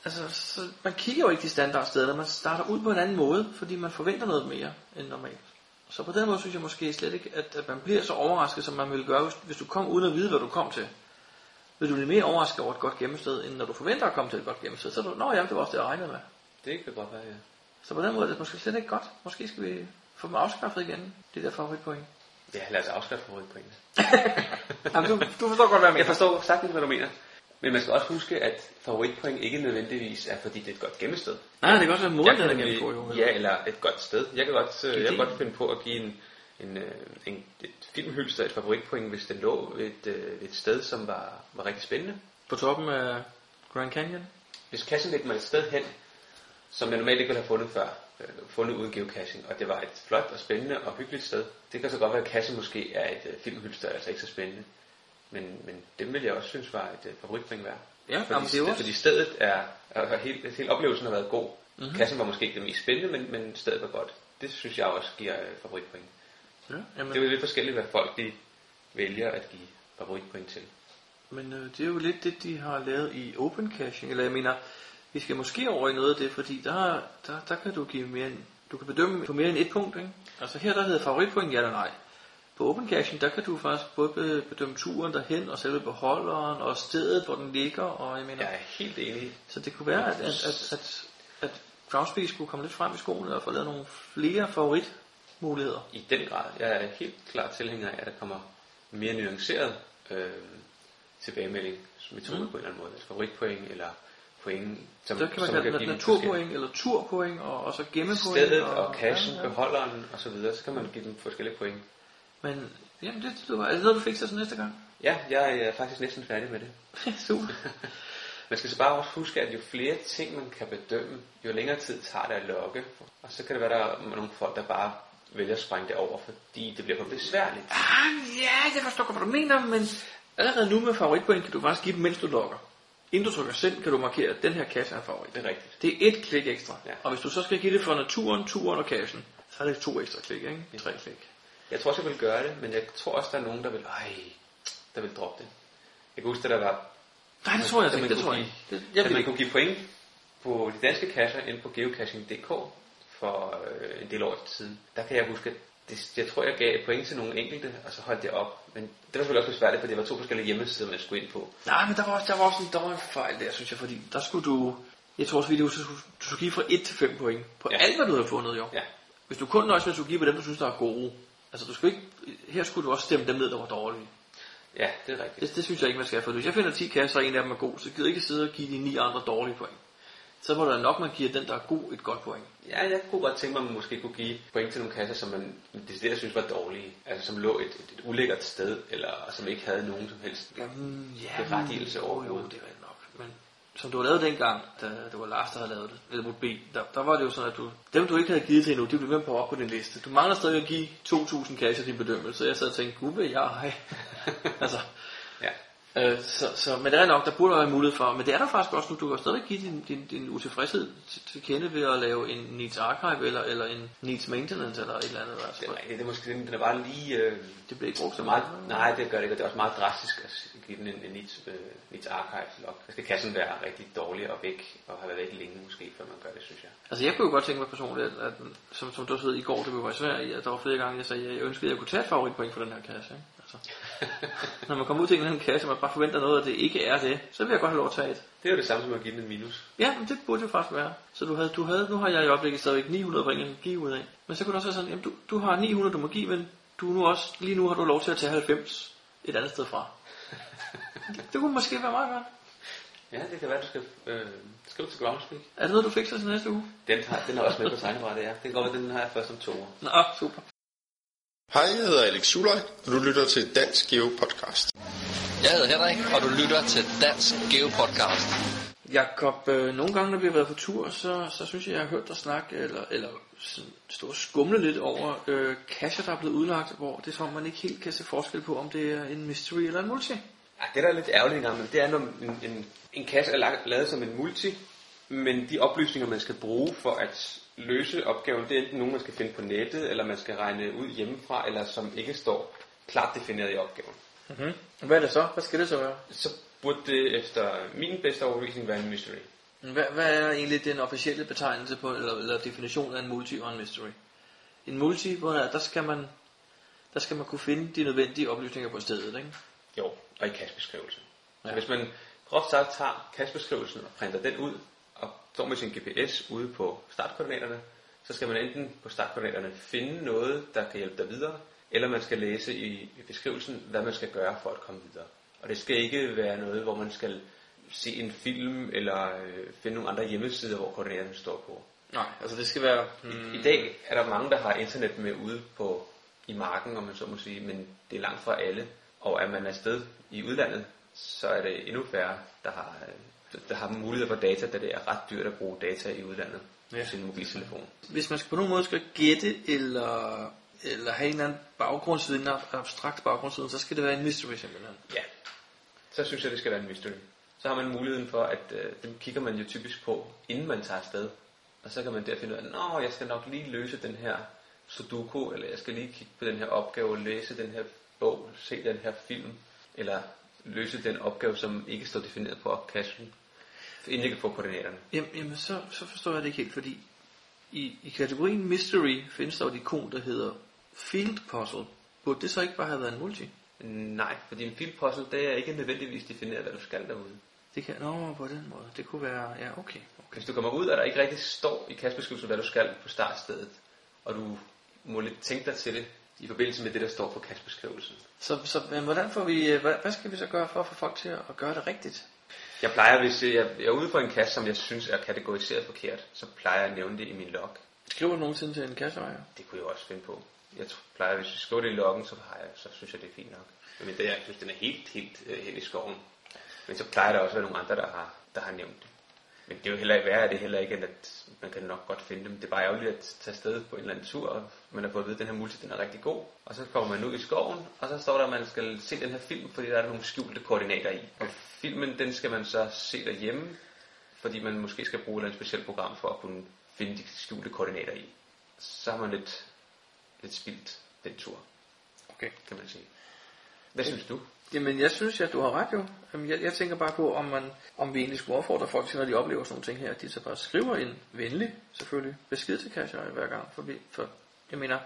Speaker 3: altså, så man kigger jo ikke de standardsteder, man starter ud på en anden måde, fordi man forventer noget mere end normalt. Så på den måde synes jeg måske slet ikke, at, at man bliver så overrasket, som man ville gøre, hvis, hvis du kom uden at vide, hvad du kom til vil du blive mere overrasket over et godt gemmested, end når du forventer at komme til et godt gemmested. Så er du, nå ja, det var også det, jeg regnede med.
Speaker 2: Det kan godt være, ja.
Speaker 3: Så på den måde er det måske slet ikke godt. Måske skal vi få dem afskaffet igen, de der favoritpoint.
Speaker 2: Ja, lad os afskaffe favoritpointene.
Speaker 3: Jamen, du, du forstår godt, hvad jeg
Speaker 2: Jeg
Speaker 3: mener.
Speaker 2: forstår sagtens, hvad du mener. Men man skal også huske, at favoritpoint ikke nødvendigvis er, fordi det er et godt gemmested.
Speaker 3: Nej, det kan også være
Speaker 2: Jeg
Speaker 3: moden,
Speaker 2: kan
Speaker 3: der
Speaker 2: nemlig-
Speaker 3: gennemgår jo.
Speaker 2: Ja, eller et godt sted. Jeg kan godt, øh, jeg
Speaker 3: Ideen.
Speaker 2: kan godt finde på at give en, en, øh, en et filmhylster et favoritpoint, hvis den lå et, øh, et sted, som var, var rigtig spændende.
Speaker 3: På toppen af Grand Canyon.
Speaker 2: Hvis kassen lægger mig et sted hen, som jeg normalt ikke ville have fundet før, øh, fundet uden geocaching, og det var et flot og spændende og hyggeligt sted, det kan så godt være, at kassen måske er et øh, filmhylster, altså ikke så spændende. Men, men dem vil jeg også synes var et øh, favoritpoint værd.
Speaker 3: Ja,
Speaker 2: fordi,
Speaker 3: jamen, det er jo også- Mhm.
Speaker 2: fordi stedet er, er, er hele, hele oplevelsen har været god. Mm-hmm. Kassen var måske ikke det mest spændende, men, men stedet var godt. Det synes jeg også giver øh, favoritpoint.
Speaker 3: Ja, jamen,
Speaker 2: Det er jo lidt forskelligt, hvad folk de vælger at give favoritpoint til.
Speaker 3: Men øh, det er jo lidt det, de har lavet i open caching. Eller jeg mener, vi skal måske over i noget af det, fordi der, der, der kan du give mere end, du kan bedømme på mere end et punkt. Ikke? Altså her der hedder favoritpoint ja eller nej. På open caching, der kan du faktisk både be- bedømme turen derhen, og selve beholderen, og stedet, hvor den ligger, og jeg mener,
Speaker 2: Jeg er helt enig.
Speaker 3: så det kunne være, at, at, at, at, at Groundspeak skulle komme lidt frem i skoene, og få lavet nogle flere favoritmuligheder.
Speaker 2: I den grad. Jeg er helt klart tilhænger af, at der kommer mere nuanceret øh, tilbagemeldingsmetode mm. på en eller anden måde. Altså favoritpoint eller point, som,
Speaker 3: Der kan man
Speaker 2: som
Speaker 3: kalde
Speaker 2: give
Speaker 3: det
Speaker 2: dem
Speaker 3: naturpoint, eller turpoint, og, og så gemmepoint.
Speaker 2: Stedet og cashen, ja, ja. beholderen osv., så kan man give dem forskellige point.
Speaker 3: Men jamen, det, det var, er det noget, du fik til næste gang?
Speaker 2: Ja, jeg er faktisk næsten færdig med det.
Speaker 3: Super.
Speaker 2: Man skal så bare også huske, at jo flere ting man kan bedømme, jo længere tid tager det at lokke. Og så kan det være, der er nogle folk, der bare vælger at sprænge det over, fordi det bliver for besværligt.
Speaker 3: ah, ja, jeg forstår godt, hvad du mener, men allerede nu med favoritpoint kan du faktisk give dem, mens du logger. Inden du trykker send, kan du markere, at den her cache er en favorit.
Speaker 2: Det er rigtigt.
Speaker 3: Det er et klik ekstra. Ja.
Speaker 2: Ja.
Speaker 3: Og hvis du så skal give det for naturen, turen og cashen, så er det to ekstra klik, ikke? Tre klik.
Speaker 2: Jeg tror også, jeg vil gøre det, men jeg tror også, der er nogen, der vil, ej, der vil droppe det. Jeg kan huske, at der var...
Speaker 3: Nej, det tror jeg altså
Speaker 2: at man
Speaker 3: ikke. Det tror
Speaker 2: kunne
Speaker 3: jeg ikke.
Speaker 2: give-
Speaker 3: Det- Jeg
Speaker 2: at
Speaker 3: vil
Speaker 2: man
Speaker 3: ikke.
Speaker 2: kunne give point på de danske kasser inde på geocaching.dk for øh, en del år siden. Der kan jeg huske, at det, jeg tror, jeg gav point til nogle enkelte, og så holdt det op. Men det var selvfølgelig også besværligt, fordi det var to forskellige hjemmesider, man skulle ind på.
Speaker 3: Nej, men der var også, der var også en dommer fejl der, synes jeg, fordi der skulle du... Jeg tror også, at du, skulle- du skulle give fra 1 til 5 point på ja.
Speaker 2: Ja.
Speaker 3: alt, hvad du havde fundet, jo.
Speaker 2: Ja.
Speaker 3: Hvis du kun nøjes med at skulle give på dem, du synes, der er gode, Altså, du skulle ikke, her skulle du også stemme dem ned, der var dårlige.
Speaker 2: Ja, det er rigtigt.
Speaker 3: Det, det synes jeg ikke, man skal. For hvis jeg finder 10 kasser, og en af dem er god, så gider jeg ikke sidde og give de ni andre dårlige point. Så må der nok, man giver den, der er god, et godt point.
Speaker 2: Ja, jeg kunne godt tænke mig, at man måske kunne give point til nogle kasser, som man decideret synes var dårlige. Altså som lå et, et, et ulækkert sted, eller som ikke havde nogen som helst
Speaker 3: Jamen, ja,
Speaker 2: berettigelse
Speaker 3: Jo,
Speaker 2: overhovedet.
Speaker 3: det er det nok. Men som du har lavet dengang, da det var Lars, der havde lavet det, eller Ruth B, der, der var det jo sådan, at du, dem du ikke havde givet til endnu, de blev ved med på op på din liste. Du mangler stadig at give 2.000 kasser din bedømmelse, så jeg sad og tænkte, gud vil jeg ej. altså,
Speaker 2: Ja.
Speaker 3: øh, så, så, men det er nok, der burde være mulighed for, men det er der faktisk også nu, du kan stadig give din, din, din utilfredshed til, til kende ved at lave en needs archive, eller, eller en needs maintenance, eller et eller andet. Altså,
Speaker 2: Det er,
Speaker 3: det,
Speaker 2: rigtigt. det er måske den, den er bare lige... Øh,
Speaker 3: det bliver ikke brugt
Speaker 2: så
Speaker 3: så
Speaker 2: meget,
Speaker 3: meget.
Speaker 2: nej, det gør det ikke, og det er også meget drastisk at give den en, en NITS, øh, NITS archive log. Altså, Der skal kassen være rigtig dårlig og væk, og have været væk længe måske, før man gør det, synes jeg.
Speaker 3: Altså jeg kunne jo godt tænke mig personligt, at, at som, som du også ved i går, det var i Sverige, at der var flere gange, jeg sagde, at jeg ønskede, at jeg kunne tage et favoritpoint for den her kasse. Ikke? Altså, når man kommer ud til en eller anden kasse, og man bare forventer noget, og det ikke er det, så vil jeg godt have lov at tage et.
Speaker 2: Det er jo det samme som at give den en minus.
Speaker 3: Ja, men det burde jo faktisk være. Så du havde, du havde, nu har jeg i øjeblikket stadigvæk 900 point, jeg kan give ud af. Men så kunne det også være sådan, jamen du, du har 900, du må give, men du nu også, lige nu har du lov til at tage 90 et andet sted fra. det, det kunne måske være meget godt.
Speaker 2: Ja, det kan være, du skal øh, skrive til Groundspeak.
Speaker 3: Er det noget, du fikser til næste uge?
Speaker 2: Den, har, den er også med på tegnebrættet, ja. Det kan godt være, den har jeg først om to år.
Speaker 3: Nå, super.
Speaker 10: Hej, jeg hedder Alex Suløj, og du lytter til Dansk Geo Podcast.
Speaker 11: Jeg hedder Henrik, og du lytter til Dansk Geo Podcast.
Speaker 3: Jakob, øh, nogle gange, når vi har været på tur, så, så synes jeg, jeg har hørt dig snakke, eller, eller sådan stå og skumle lidt over øh, kasser, der er blevet udlagt, hvor det er som, om, man ikke helt kan se forskel på, om det er en mystery eller en multi.
Speaker 2: Ja, det der er lidt ærgerligt engang, men det er, når en, en, en kasse er lagt, lavet som en multi, men de oplysninger, man skal bruge for at løse opgaven, det er enten nogen, man skal finde på nettet, eller man skal regne ud hjemmefra, eller som ikke står klart defineret i opgaven.
Speaker 3: Mm-hmm. Hvad er det så? Hvad skal det så være?
Speaker 2: Så burde det efter min bedste overbevisning være en mystery.
Speaker 3: Hvad, hvad er egentlig den officielle betegnelse på, eller, eller definition af en multi og en mystery? En multi, hvor der, der skal man der skal man kunne finde de nødvendige oplysninger på stedet, ikke?
Speaker 2: Jo, og i kastbeskrivelsen. Ja. Hvis man groft sagt tager kastbeskrivelsen og printer den ud, og står med sin GPS ude på startkoordinaterne, så skal man enten på startkoordinaterne finde noget, der kan hjælpe dig videre, eller man skal læse i i beskrivelsen, hvad man skal gøre for at komme videre. Og det skal ikke være noget, hvor man skal se en film, eller øh, finde nogle andre hjemmesider, hvor koordinaterne står på.
Speaker 3: Nej, altså det skal være... Hmm,
Speaker 2: I dag er der mange, der har internet med ude på i marken, om man så må sige, men det er langt fra alle. Og er man afsted i udlandet, så er det endnu færre, der har, øh, der har mulighed for data, da det er ret dyrt at bruge data i udlandet ja. på sin mobiltelefon.
Speaker 3: hvis man skal på nogen måde skal gætte eller, eller have en eller anden baggrundsviden, en abstrakt baggrundsviden, så skal det være en mystery simpelthen.
Speaker 2: Ja, så synes jeg, det skal være en mystery. Så har man muligheden for, at øh, dem kigger man jo typisk på, inden man tager afsted. Og så kan man der finde ud af, at jeg skal nok lige løse den her sudoku, eller jeg skal lige kigge på den her opgave, læse den her bog, se den her film, eller løse den opgave, som ikke står defineret på opkassen, inden jeg kan få koordinaterne.
Speaker 3: Jamen, jamen så, så forstår jeg det ikke helt, fordi i, i kategorien mystery findes der jo et ikon, der hedder field puzzle. Burde det så ikke bare have været en multi?
Speaker 2: Nej, fordi en filpuzzle, det er ikke nødvendigvis defineret, hvad du skal derude.
Speaker 3: Det kan, nå, på den måde. Det kunne være, ja, okay. okay.
Speaker 2: Hvis du kommer ud, og der ikke rigtig står i kastbeskrivelsen, hvad du skal på startstedet, og du må lidt tænke dig til det i forbindelse med det, der står på kastbeskrivelsen.
Speaker 3: Så, så men hvordan får vi, øh, hvad, hvad skal vi så gøre for at få folk til at gøre det rigtigt?
Speaker 2: Jeg plejer, hvis øh, jeg jeg er ude for en kasse, som jeg synes er kategoriseret forkert, så plejer jeg at nævne det i min log.
Speaker 3: Skriver du nogensinde til en kasseejer?
Speaker 2: Det kunne jeg også finde på. Jeg tr- plejer, hvis jeg skriver det i loggen, så, har jeg, så synes jeg, det er fint nok. Men det, jeg synes, den er helt, helt øh, hen i skoven. Men så plejer der også at være nogle andre, der har, der har nævnt det. Men det er jo heller ikke værre, er det heller ikke, end at man kan nok godt finde dem. Det er bare ærgerligt at tage afsted på en eller anden tur, og man har fået at vide, at den her multi, den er rigtig god. Og så kommer man ud i skoven, og så står der, at man skal se den her film, fordi der er nogle skjulte koordinater i. Og filmen, den skal man så se derhjemme, fordi man måske skal bruge et eller andet specielt program for at kunne finde de skjulte koordinater i. Så har man lidt, lidt spildt den tur,
Speaker 3: Okay.
Speaker 2: kan man sige. Hvad synes du?
Speaker 3: Jamen, jeg synes, at du har ret jo. Jamen, jeg, jeg tænker bare på, om, man, om vi egentlig skulle opfordre folk til, når de oplever sådan nogle ting her, at de så bare skriver en venlig, selvfølgelig, besked til cashier hver gang. For, vi- for jeg mener,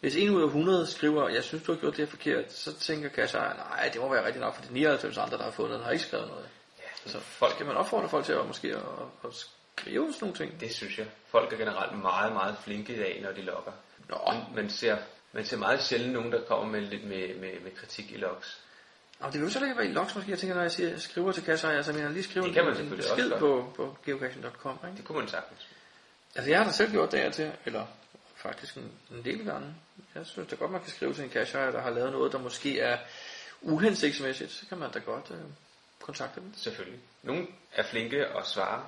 Speaker 3: hvis en ud af 100 skriver, jeg synes, du har gjort det her forkert, så tænker cashier, nej, det må være rigtigt nok, for de 99 andre, der har fundet den, har ikke skrevet noget.
Speaker 2: Ja,
Speaker 3: Så folk kan man opfordre folk til at måske at, at skrive sådan nogle ting.
Speaker 2: Det synes jeg. Folk er generelt meget, meget flinke i dag, når de logger.
Speaker 3: Nå.
Speaker 2: Man ser man ser meget sjældent nogen, der kommer med lidt med, med, med kritik i logs.
Speaker 3: Og det vil jo så ikke være i logs måske, jeg tænker, når jeg siger, skriver til kasseejer, så mener jeg lige skriver
Speaker 2: Det kan man
Speaker 3: en, en
Speaker 2: selvfølgelig
Speaker 3: besked
Speaker 2: også
Speaker 3: på, på geocaching.com, ikke?
Speaker 2: Det kunne man sagtens.
Speaker 3: Altså jeg har da selv gjort det her til, eller faktisk en, en del gange. Jeg synes da godt, man kan skrive til en cashejer, der har lavet noget, der måske er uhensigtsmæssigt. Så kan man da godt øh, kontakte dem.
Speaker 2: Selvfølgelig. Nogle er flinke og svarer,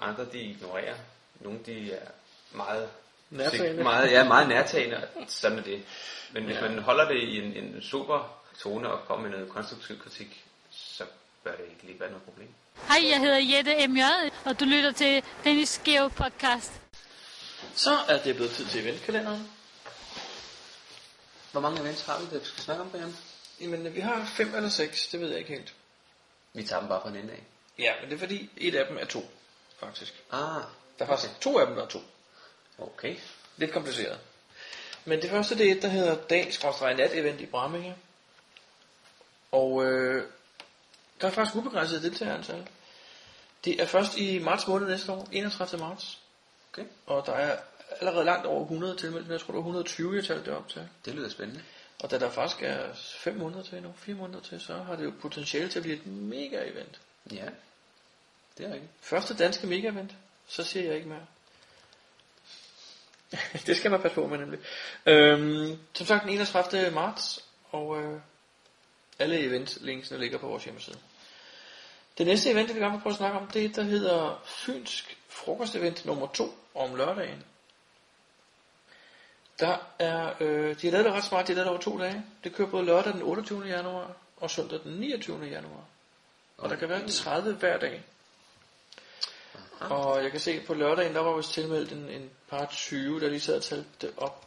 Speaker 2: andre de ignorerer. Nogle de er meget
Speaker 3: Nærtagende.
Speaker 2: Meget, ja, meget nærtagende, og sådan er det. Men hvis
Speaker 3: Ja.
Speaker 2: man holder det i en, en super tone og kommer med noget konstruktiv kritik, så bør det ikke lige være noget problem.
Speaker 12: Hej, jeg hedder Jette M.J., og du lytter til Dennis Geo Podcast.
Speaker 3: Så er det blevet tid til eventkalenderen. Hvor mange events har vi, der vi skal snakke om, Brian? Jamen, vi har fem eller seks, det ved jeg ikke helt.
Speaker 2: Vi tager dem bare fra en ende af.
Speaker 3: Ja, men det er fordi, et af dem er to, faktisk.
Speaker 2: Ah,
Speaker 3: Der er faktisk to af dem, der er to.
Speaker 2: Okay.
Speaker 3: Lidt kompliceret. Men det første, det er et, der hedder dag-nat-event i Bramminge. Og øh, der er faktisk ubegrænset deltagerantal. Det er først i marts måned næste år, 31. marts.
Speaker 2: Okay.
Speaker 3: Og der er allerede langt over 100 tilmeldt, men jeg tror, der er 120 jeg talte det op til.
Speaker 2: Det lyder spændende.
Speaker 3: Og da der faktisk er 5 måneder til endnu, 4 måneder til, så har det jo potentiale til at blive et mega event.
Speaker 2: Ja, det er rigtigt.
Speaker 3: Første danske mega event, så siger jeg ikke mere. det skal man passe på med nemlig. Øhm, som sagt den 31. marts, og øh, alle eventlinksene ligger på vores hjemmeside. Det næste event, jeg vil gerne prøve at snakke om, det er et, der hedder Fynsk frokostevent nummer 2 om lørdagen. Der er, øh, de har lavet det ret smart, de har lavet det over to dage. Det kører både lørdag den 28. januar og søndag den 29. januar. Og der kan være 30 hver dag. Og jeg kan se på lørdagen, der var vist tilmeldt en, en par 20, der lige sad og talte det op.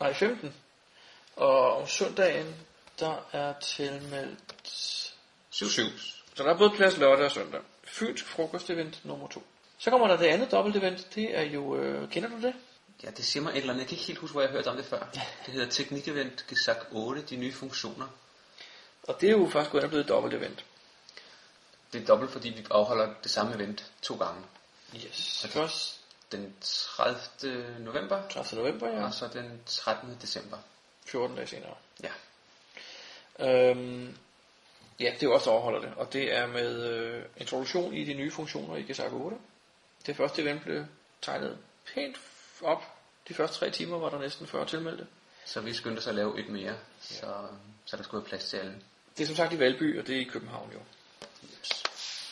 Speaker 3: Nej, 15. Og om søndagen, der er tilmeldt
Speaker 2: 7 7.
Speaker 3: Så der er både plads lørdag og søndag. Fynsk frokostevent nummer 2. Så kommer der det andet dobbeltevent, det er jo, øh, kender du det?
Speaker 2: Ja, det siger mig et eller andet. Jeg kan ikke helt huske, hvor jeg har hørt om det før. Det hedder Teknikevent Gesak 8, de nye funktioner.
Speaker 3: Og det er jo faktisk gået ind og blevet et dobbelt event.
Speaker 2: Det er dobbelt, fordi vi afholder det samme event to gange.
Speaker 3: Yes. Så først
Speaker 2: den 30. november.
Speaker 3: 30. november, ja.
Speaker 2: Og så den 13. december.
Speaker 3: 14 dage senere.
Speaker 2: Ja.
Speaker 3: Øhm, ja, det er jo også der overholder det, og det er med øh, introduktion i de nye funktioner i Gesak 8. Det første event blev tegnet pænt f- op. De første tre timer var der næsten 40 tilmeldte.
Speaker 2: Så vi skyndte os at lave et mere, så, så der skulle være plads til alle.
Speaker 3: Det er som sagt i Valby, og det er i København jo.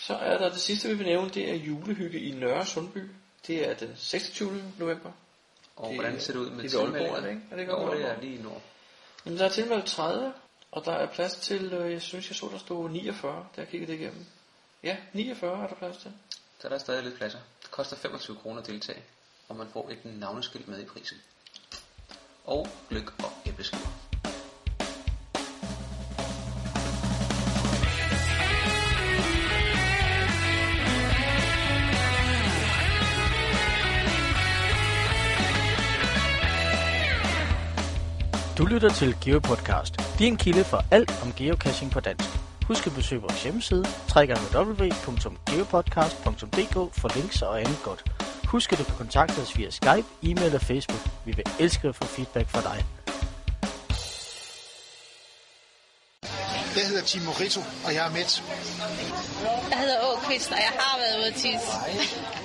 Speaker 3: Så er der det sidste, vi vil nævne, det er julehygge i Nørre Sundby. Det er den 26. november.
Speaker 2: Og hvordan ser det ud med
Speaker 3: det i Aalborg,
Speaker 2: tilmeldinger?
Speaker 3: er det ikke? Er det ikke
Speaker 2: Jo,
Speaker 3: Aalborg?
Speaker 2: det er lige i nord.
Speaker 3: Jamen, der er tilmeldt 30, og der er plads til, øh, jeg synes, jeg så, der stod 49, da jeg kiggede det igennem. Ja, 49 er der plads til.
Speaker 2: Så der er stadig lidt pladser. Det koster 25 kroner at deltage, og man får et navneskilt med i prisen. Og gløk og æbleskiver.
Speaker 4: Du lytter til GeoPodcast, din kilde for alt om geocaching på dansk. Husk at besøge vores hjemmeside, www.geopodcast.dk for links og andet godt. Husk at du kan kontakte os via Skype, e-mail og Facebook. Vi vil elske at få feedback fra dig.
Speaker 8: Jeg hedder Tim Morito, og jeg er med.
Speaker 13: Jeg hedder Åkvist, og jeg har været ude at tisse.